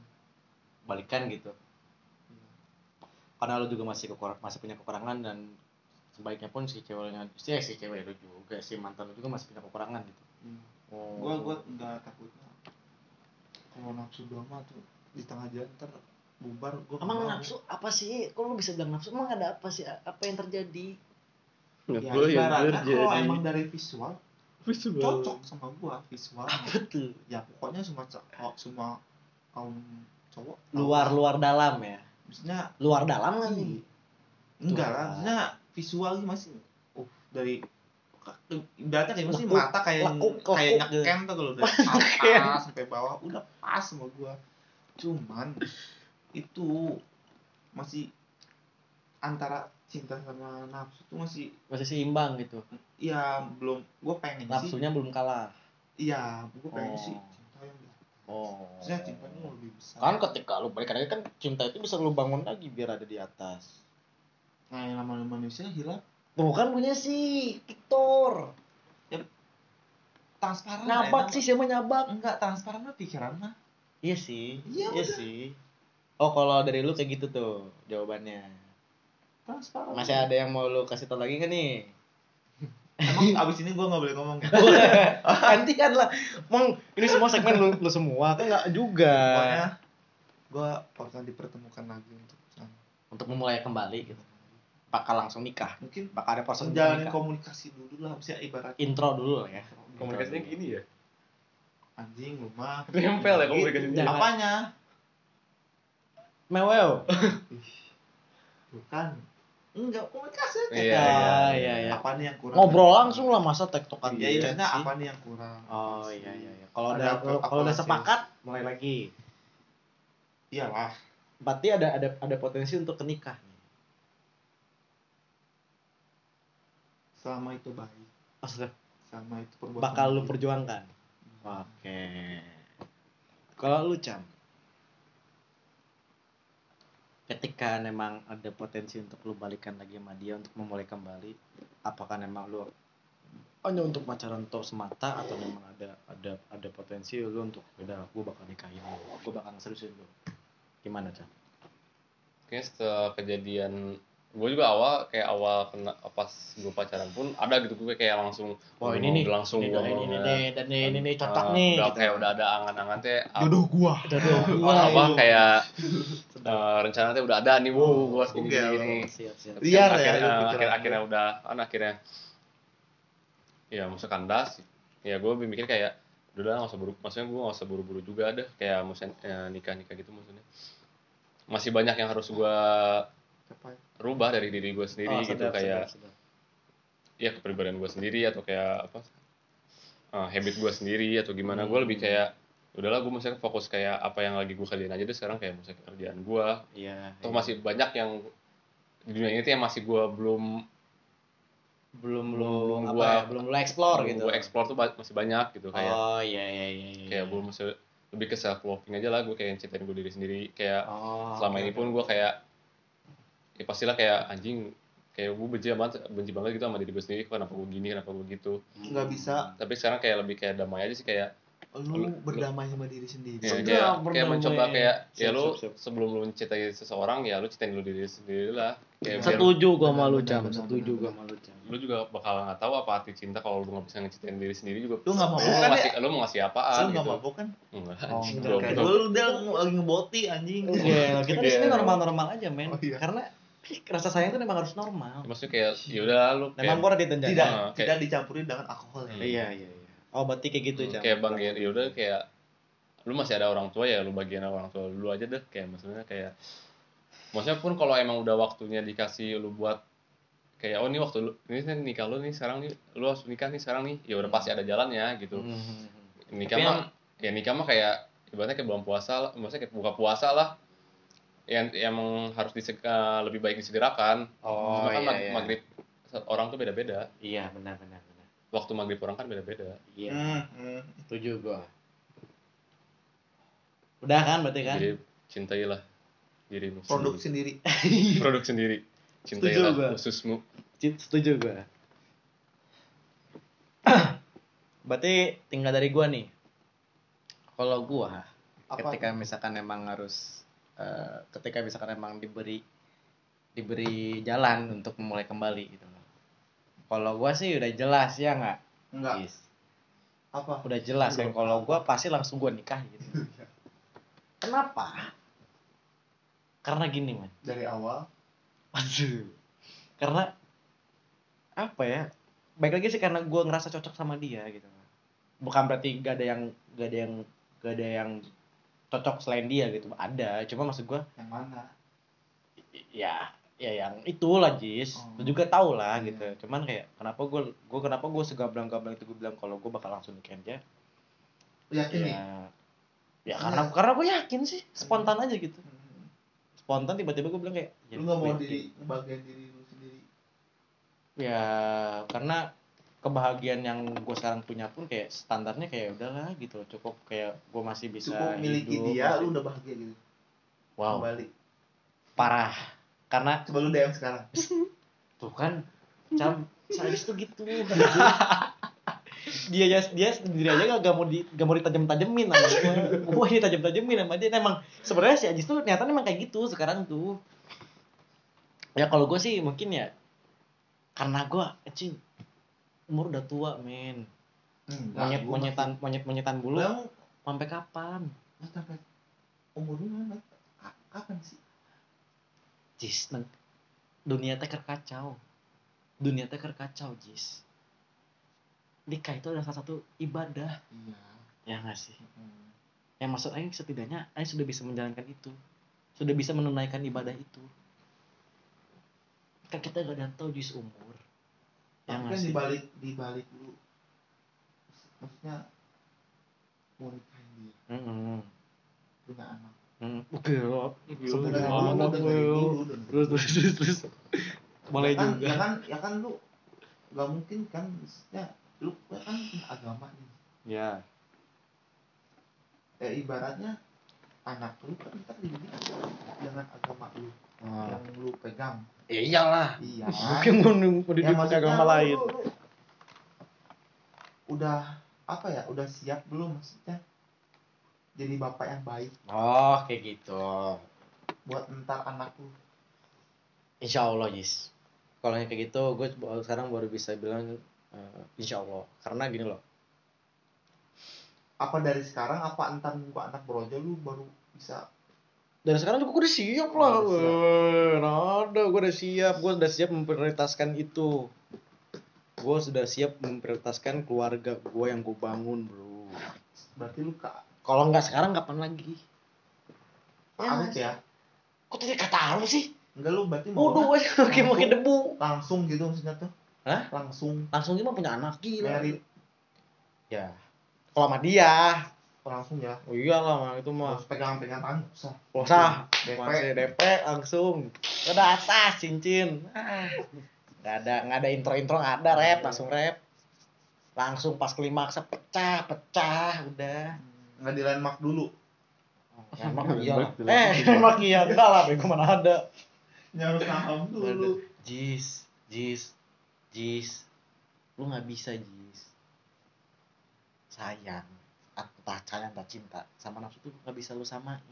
[SPEAKER 1] Balikan gitu.
[SPEAKER 2] Iya.
[SPEAKER 1] karena lo juga masih kekurang, masih punya kekurangan dan sebaiknya pun si ceweknya si eh, si cewek lo juga si mantan lo juga masih punya kekurangan gitu
[SPEAKER 2] Iya.
[SPEAKER 1] oh.
[SPEAKER 2] gue gue nggak takutnya kalau nafsu doang mah tuh di tengah jalan ntar bubar gue
[SPEAKER 1] emang nafsu apa sih kok lo bisa bilang nafsu emang ada apa sih apa yang terjadi
[SPEAKER 2] ya,
[SPEAKER 4] Gue yang
[SPEAKER 2] ibaratnya kalau
[SPEAKER 4] terjadi.
[SPEAKER 2] emang dari visual cocok sama gue visual
[SPEAKER 1] apa tuh
[SPEAKER 2] ya pokoknya semua ca- oh, semua kaum cowok
[SPEAKER 1] luar luar dalam ya
[SPEAKER 2] maksudnya
[SPEAKER 1] luar dalam kan
[SPEAKER 2] Ih, enggak lah
[SPEAKER 1] Tuhan.
[SPEAKER 2] maksudnya visualnya masih uh dari ibaratnya kayak masih
[SPEAKER 1] Lekuk,
[SPEAKER 2] mata kayak
[SPEAKER 1] lekuk,
[SPEAKER 2] kayak
[SPEAKER 1] lekuk gitu.
[SPEAKER 2] neken tuh kalau dari atas sampai bawah udah pas sama gua cuman itu masih antara cinta sama nafsu tuh masih
[SPEAKER 1] masih seimbang gitu
[SPEAKER 2] ya belum gue pengen sih
[SPEAKER 1] nafsunya belum kalah
[SPEAKER 2] iya gue pengen
[SPEAKER 1] Oh.
[SPEAKER 2] sih cinta yang besar
[SPEAKER 1] oh
[SPEAKER 2] maksudnya cinta yang lebih besar
[SPEAKER 1] kan ketika lu balik lagi kan cinta itu bisa lu bangun lagi biar ada di atas
[SPEAKER 2] nah yang namanya manusia hilang
[SPEAKER 1] tuh kan punya si Victor Ah,
[SPEAKER 2] transparan
[SPEAKER 1] nyabak sih siapa nyabak
[SPEAKER 2] enggak transparan mah pikiran mah
[SPEAKER 1] iya sih
[SPEAKER 2] Iya,
[SPEAKER 1] iya
[SPEAKER 2] udah.
[SPEAKER 1] sih oh kalau dari lu kayak gitu tuh jawabannya
[SPEAKER 2] transparan
[SPEAKER 1] masih ada yang mau lu kasih tau lagi gak nih
[SPEAKER 2] emang abis ini gue nggak boleh ngomong kan
[SPEAKER 1] nanti kan lah mong ini semua segmen lu, lu semua kan nggak juga
[SPEAKER 2] pokoknya gue akan dipertemukan lagi untuk
[SPEAKER 1] Oh,
[SPEAKER 2] nah,
[SPEAKER 1] untuk memulai kembali gitu bakal langsung nikah
[SPEAKER 2] mungkin
[SPEAKER 1] bakal ada proses untuk
[SPEAKER 2] jalanin
[SPEAKER 1] nikah.
[SPEAKER 2] komunikasi dulu lah misalnya ibarat
[SPEAKER 1] intro dulu lah ya
[SPEAKER 3] Komunikasinya gini ya.
[SPEAKER 2] anjing rumah
[SPEAKER 3] Nempel ya
[SPEAKER 2] Gitu.
[SPEAKER 3] komunikasinya.
[SPEAKER 1] Jangan.
[SPEAKER 2] apanya
[SPEAKER 1] gitu. mewel
[SPEAKER 2] bukan enggak komunikasi aja
[SPEAKER 3] Iya,
[SPEAKER 1] ya
[SPEAKER 3] iya,
[SPEAKER 1] ya ya
[SPEAKER 2] apa nih yang kurang
[SPEAKER 1] ngobrol langsung lah masa tektokan
[SPEAKER 2] ya
[SPEAKER 1] di chat
[SPEAKER 2] ibaratnya
[SPEAKER 1] sih.
[SPEAKER 2] apa nih yang kurang
[SPEAKER 1] Iya, oh
[SPEAKER 2] Apa
[SPEAKER 1] iya
[SPEAKER 2] sih?
[SPEAKER 1] iya iya kalau
[SPEAKER 2] Ada
[SPEAKER 1] udah
[SPEAKER 2] apa-
[SPEAKER 1] kalau- kalau
[SPEAKER 2] apa
[SPEAKER 1] udah
[SPEAKER 2] sih?
[SPEAKER 1] sepakat mulai lagi
[SPEAKER 2] iyalah
[SPEAKER 1] berarti ada ada ada potensi untuk kenikah
[SPEAKER 2] selama itu baik
[SPEAKER 1] Maksudnya,
[SPEAKER 2] selama itu perbuatan
[SPEAKER 1] bakal lu
[SPEAKER 2] baik.
[SPEAKER 1] perjuangkan oke kalau lu cam ketika memang ada potensi untuk lu balikan lagi sama dia untuk memulai kembali apakah memang lu hanya untuk pacaran top semata atau memang ada ada ada potensi lu untuk beda gue bakal nikahin lu gue bakal seriusin lu gimana cam
[SPEAKER 3] Kayaknya setelah kejadian gue juga awal kayak awal kena pas gue pacaran pun ada gitu gue kayak langsung
[SPEAKER 1] Wah,
[SPEAKER 3] gua
[SPEAKER 1] ini nih.
[SPEAKER 3] langsung
[SPEAKER 1] Ini
[SPEAKER 3] gua
[SPEAKER 1] nih, ini
[SPEAKER 3] ngomongnya.
[SPEAKER 1] nih, dan ini, ini nih, cocok
[SPEAKER 3] Ah,
[SPEAKER 1] nih.
[SPEAKER 3] udah
[SPEAKER 1] gitu.
[SPEAKER 3] kayak udah ada angan-angan teh ah,
[SPEAKER 2] jodoh gua
[SPEAKER 1] Jodoh gua.
[SPEAKER 3] ah, apa
[SPEAKER 1] gitu.
[SPEAKER 3] kayak eh, rencana teh udah ada nih bu
[SPEAKER 1] Oh,
[SPEAKER 3] gue segini
[SPEAKER 2] oke,
[SPEAKER 3] gini
[SPEAKER 1] Siap, siap.
[SPEAKER 2] Iya. Liar ya, lu
[SPEAKER 3] Kan akhirnya,
[SPEAKER 2] pikiran lu.
[SPEAKER 3] akhirnya, akhirnya udah kan akhirnya ya maksudnya kandas ya gue mikir kayak udah lah nggak usah buru maksudnya gue nggak usah buru-buru juga deh kayak maksudnya nikah nikah gitu maksudnya masih banyak yang harus gue
[SPEAKER 2] Apa?
[SPEAKER 3] rubah dari diri gue sendiri
[SPEAKER 1] Oh,
[SPEAKER 3] gitu
[SPEAKER 1] sedap,
[SPEAKER 3] kayak
[SPEAKER 1] sedap, sedap.
[SPEAKER 3] ya kepribadian gue sendiri atau kayak apa eh, habit gue sendiri atau gimana gue lebih kayak udahlah gue misalnya fokus kayak apa yang lagi gue kerjain aja deh sekarang kayak misalnya kerjaan gue
[SPEAKER 1] Iya.
[SPEAKER 3] atau
[SPEAKER 1] iya.
[SPEAKER 3] masih banyak yang di dunia ini tuh yang masih gue belum
[SPEAKER 1] belum belum
[SPEAKER 3] belum
[SPEAKER 1] apa
[SPEAKER 3] gua-
[SPEAKER 1] ya, belum lu explore gitu.
[SPEAKER 3] gue Oh, explore tuh ba- masih banyak gitu kayak
[SPEAKER 1] Oh iya iya iya. iya.
[SPEAKER 3] kayak gue masih lebih ke self loving aja lah gue kayak ceritain gue diri sendiri kayak
[SPEAKER 1] Oh.
[SPEAKER 3] selama
[SPEAKER 1] oke,
[SPEAKER 3] ini
[SPEAKER 1] oke.
[SPEAKER 3] pun gue kayak ya pastilah kayak anjing kayak gue benci banget benci banget gitu sama diri gue sendiri kenapa gue gini kenapa gue gitu
[SPEAKER 1] Hmm.
[SPEAKER 2] nggak bisa
[SPEAKER 3] tapi sekarang kayak lebih kayak damai aja sih kayak
[SPEAKER 2] lu berdamai sama diri sendiri
[SPEAKER 3] Ya,
[SPEAKER 1] Segera
[SPEAKER 3] kayak,
[SPEAKER 1] berdamai.
[SPEAKER 3] kayak mencoba kayak ya
[SPEAKER 1] Siap,
[SPEAKER 3] lu
[SPEAKER 1] siap, siap.
[SPEAKER 3] sebelum lu cintai seseorang ya lu cintain lu diri sendiri lah. Kayak biar
[SPEAKER 1] Setuju gua sama lu
[SPEAKER 2] Benar,
[SPEAKER 1] Cam,
[SPEAKER 2] benar,
[SPEAKER 1] setuju
[SPEAKER 2] benar,
[SPEAKER 1] gua sama lu Cam.
[SPEAKER 3] lu juga bakal nggak tahu apa arti cinta kalau lu nggak bisa ngecintain diri sendiri juga.
[SPEAKER 2] Lu nggak
[SPEAKER 3] mau
[SPEAKER 2] mabok kan,
[SPEAKER 3] ngasih, lu mau ngasih
[SPEAKER 1] Ah,
[SPEAKER 3] apaan
[SPEAKER 2] lu nggak
[SPEAKER 3] gitu.
[SPEAKER 2] mabok kan
[SPEAKER 3] Enggak.
[SPEAKER 2] oh,
[SPEAKER 3] anjing,
[SPEAKER 2] enggak kan
[SPEAKER 1] Iya.
[SPEAKER 3] goblok.
[SPEAKER 2] gue udah lagi ngeboti anjing
[SPEAKER 1] Oke, Iya, kita di sini
[SPEAKER 3] Oke.
[SPEAKER 1] normal-normal aja, men.
[SPEAKER 2] Oh, iya.
[SPEAKER 1] Karena rasa sayang itu memang harus normal.
[SPEAKER 3] Maksudnya kayak ya udah lu kayak,
[SPEAKER 1] Memang gua ada di tenjana.
[SPEAKER 2] tidak
[SPEAKER 3] Nah,
[SPEAKER 2] tidak dicampuri dengan alkohol ya
[SPEAKER 1] Iya, iya, iya. Oh, berarti kayak gitu, Cam.
[SPEAKER 3] kayak bang ya udah kayak lu masih ada orang tua ya lu bagian orang tua lu aja deh kayak maksudnya kayak maksudnya pun kalau emang udah waktunya dikasih lu buat kayak oh ini waktu lu ini nih nikah lu nih sekarang nih lu harus nikah nih sekarang nih ya udah pasti ada jalannya gitu
[SPEAKER 1] Mhm.
[SPEAKER 3] nikah
[SPEAKER 1] Tapi
[SPEAKER 3] mah ya nikah mah kayak ibaratnya kayak bulan puasa lah maksudnya kayak buka puasa lah yang yang emang harus disegera, lebih baik disegerakan
[SPEAKER 1] Oh,
[SPEAKER 3] Cuma kan
[SPEAKER 1] iya,
[SPEAKER 3] mag-
[SPEAKER 1] iya.
[SPEAKER 3] maghrib orang tuh beda-beda
[SPEAKER 1] Iya, benar benar benar.
[SPEAKER 3] waktu maghrib orang kan beda-beda
[SPEAKER 1] Iya.
[SPEAKER 2] Hmm, hmm.
[SPEAKER 1] Setuju gua. Udah kan berarti kan?
[SPEAKER 3] jadi cintailah dirimu
[SPEAKER 2] produk
[SPEAKER 1] Iya.
[SPEAKER 3] sendiri.
[SPEAKER 2] sendiri
[SPEAKER 3] produk sendiri
[SPEAKER 1] Setuju gua.
[SPEAKER 3] cintailah khususmu
[SPEAKER 1] Cit, Setuju gua. berarti tinggal dari gua nih. Kalau gua
[SPEAKER 2] Apa?
[SPEAKER 1] ketika misalkan emang harus eh, ketika misalkan emang diberi diberi jalan untuk memulai kembali gitu loh. Kalau gua sih udah jelas ya nggak?
[SPEAKER 2] enggak
[SPEAKER 1] Yes.
[SPEAKER 2] apa
[SPEAKER 1] udah jelas kan kalau gua pasti langsung gua nikah gitu. Kenapa? Karena gini man.
[SPEAKER 2] dari awal
[SPEAKER 1] Waduh. Karena apa ya? Baik lagi sih karena gua ngerasa cocok sama dia gitu. Bukan berarti gak ada yang gak ada yang gak ada yang cocok selain dia gitu. Ada, cuma maksud gua
[SPEAKER 2] yang mana
[SPEAKER 1] i- ya ya yang itulah Jis. Lu
[SPEAKER 2] Oh.
[SPEAKER 1] juga tau lah
[SPEAKER 2] Iya.
[SPEAKER 1] gitu. Cuman kayak kenapa gua gua kenapa gua segablang-gablang itu gua bilang kalau gua bakal langsung nikahin dia
[SPEAKER 2] Lu yakin nih
[SPEAKER 1] Iya.
[SPEAKER 4] Iya.
[SPEAKER 1] ya ya karena karena gue yakin sih spontan aja gitu
[SPEAKER 2] Hmm.
[SPEAKER 1] spontan tiba-tiba gue bilang kayak "Ya,
[SPEAKER 4] lu nggak mau
[SPEAKER 1] "Wih,
[SPEAKER 4] diri bagian diri lu sendiri
[SPEAKER 1] ya karena kebahagiaan yang gue sekarang punya pun kayak standarnya kayak udahlah gitu cukup kayak gue masih bisa
[SPEAKER 4] cukup miliki
[SPEAKER 1] hidup,
[SPEAKER 4] dia
[SPEAKER 1] masih-
[SPEAKER 4] lu udah bahagia gitu
[SPEAKER 1] iya, wow
[SPEAKER 4] kembali
[SPEAKER 1] parah karena
[SPEAKER 4] coba lu DM sekarang
[SPEAKER 1] tuh kan cam sadis tuh gitu dia ya dia sendiri aja gak, gak mau di gak mau ditajam tajemin sama gue gue ditajam tajemin sama dia Nah, emang sebenarnya si Ajis tuh ternyata emang kayak gitu sekarang tuh ya kalau gue sih mungkin ya karena gue anjing umur udah tua men
[SPEAKER 4] hmm,
[SPEAKER 1] monyet monyetan monyet monyetan bulu
[SPEAKER 4] lu
[SPEAKER 1] sampai kapan
[SPEAKER 4] Mas sampai umur lu kan kapan sih?
[SPEAKER 1] jis neng- dunia teh keur kacau dunia teh keur kacau jis nikah itu adalah salah satu ibadah
[SPEAKER 4] Iya.
[SPEAKER 1] ya nggak sih yang maksud Aing setidaknya Aing sudah bisa menjalankan itu sudah bisa menunaikan ibadah itu kan kita gak ada yang tahu jis umur ya
[SPEAKER 4] Tapi
[SPEAKER 1] nggak
[SPEAKER 4] kan
[SPEAKER 1] sih
[SPEAKER 4] dibalik dibalik lu maksudnya mau nikahin dia
[SPEAKER 1] Mm-mm.
[SPEAKER 4] punya anak.
[SPEAKER 1] Mm. oke lo
[SPEAKER 4] Sebenarnya
[SPEAKER 1] Sebenarnya
[SPEAKER 4] lu
[SPEAKER 1] anak
[SPEAKER 4] udah
[SPEAKER 1] gue.
[SPEAKER 4] dari dulu udah
[SPEAKER 1] terus terus terus, terus. boleh
[SPEAKER 4] kan,
[SPEAKER 1] Iya juga
[SPEAKER 4] Ya kan ya kan lu gak mungkin kan maksudnya lu kan punya agama nih.
[SPEAKER 1] ya
[SPEAKER 4] Ya ibaratnya anak lu kan ntar dididik dengan agama lu yang lu pegang.
[SPEAKER 1] Oh, ya iyalah
[SPEAKER 4] Iya.
[SPEAKER 1] mungkin mau mau
[SPEAKER 4] Ya,
[SPEAKER 1] dididik
[SPEAKER 4] maksudnya
[SPEAKER 1] agama
[SPEAKER 4] lu-
[SPEAKER 1] lain
[SPEAKER 4] lu- lu udah apa ya udah siap belum maksudnya jadi bapak yang baik
[SPEAKER 1] oh kayak gitu
[SPEAKER 4] buat entar anak lu
[SPEAKER 1] insya Allah Jis kalau yang kayak gitu gue sekarang baru bisa bilang eh, insya Allah karena gini loh
[SPEAKER 4] apa dari sekarang apa entar nunggu anak berojo lu baru bisa
[SPEAKER 1] dan sekarang juga gue udah siap lah
[SPEAKER 4] Oh, udah siap.
[SPEAKER 1] Weh, ada gue udah siap gue udah siap memprioritaskan itu gue sudah siap memprioritaskan keluarga gue yang gue bangun bro
[SPEAKER 4] berarti lu ke
[SPEAKER 1] kalau nggak sekarang kapan lagi
[SPEAKER 4] arus ya
[SPEAKER 1] kok tadi kata lu sih
[SPEAKER 4] enggak lu berarti mau
[SPEAKER 1] bodoh aja makin makin debu
[SPEAKER 4] langsung gitu maksudnya tuh
[SPEAKER 1] Hah?
[SPEAKER 4] langsung
[SPEAKER 1] langsung dia mah punya anak gila
[SPEAKER 4] merit
[SPEAKER 1] ya kalau sama dia
[SPEAKER 4] langsung ya
[SPEAKER 1] oh iyalah mah itu mah
[SPEAKER 4] harus pegang pegang tangan usah
[SPEAKER 1] Gak usah
[SPEAKER 4] DP.
[SPEAKER 1] masih DP langsung ke atas cincin Ah. nggak ada nggak ada intro intro nggak ada rap langsung rap langsung pas klimaks pecah pecah udah
[SPEAKER 4] nggak di landmark dulu
[SPEAKER 1] emang iya lah.
[SPEAKER 5] Betul.
[SPEAKER 1] eh emang iya enggak lah bego mana ada
[SPEAKER 4] ya harus paham dulu
[SPEAKER 1] jis jis jis lu nggak bisa jis sayang entah sayang entah cinta sama nafsu tuh nggak bisa lu samain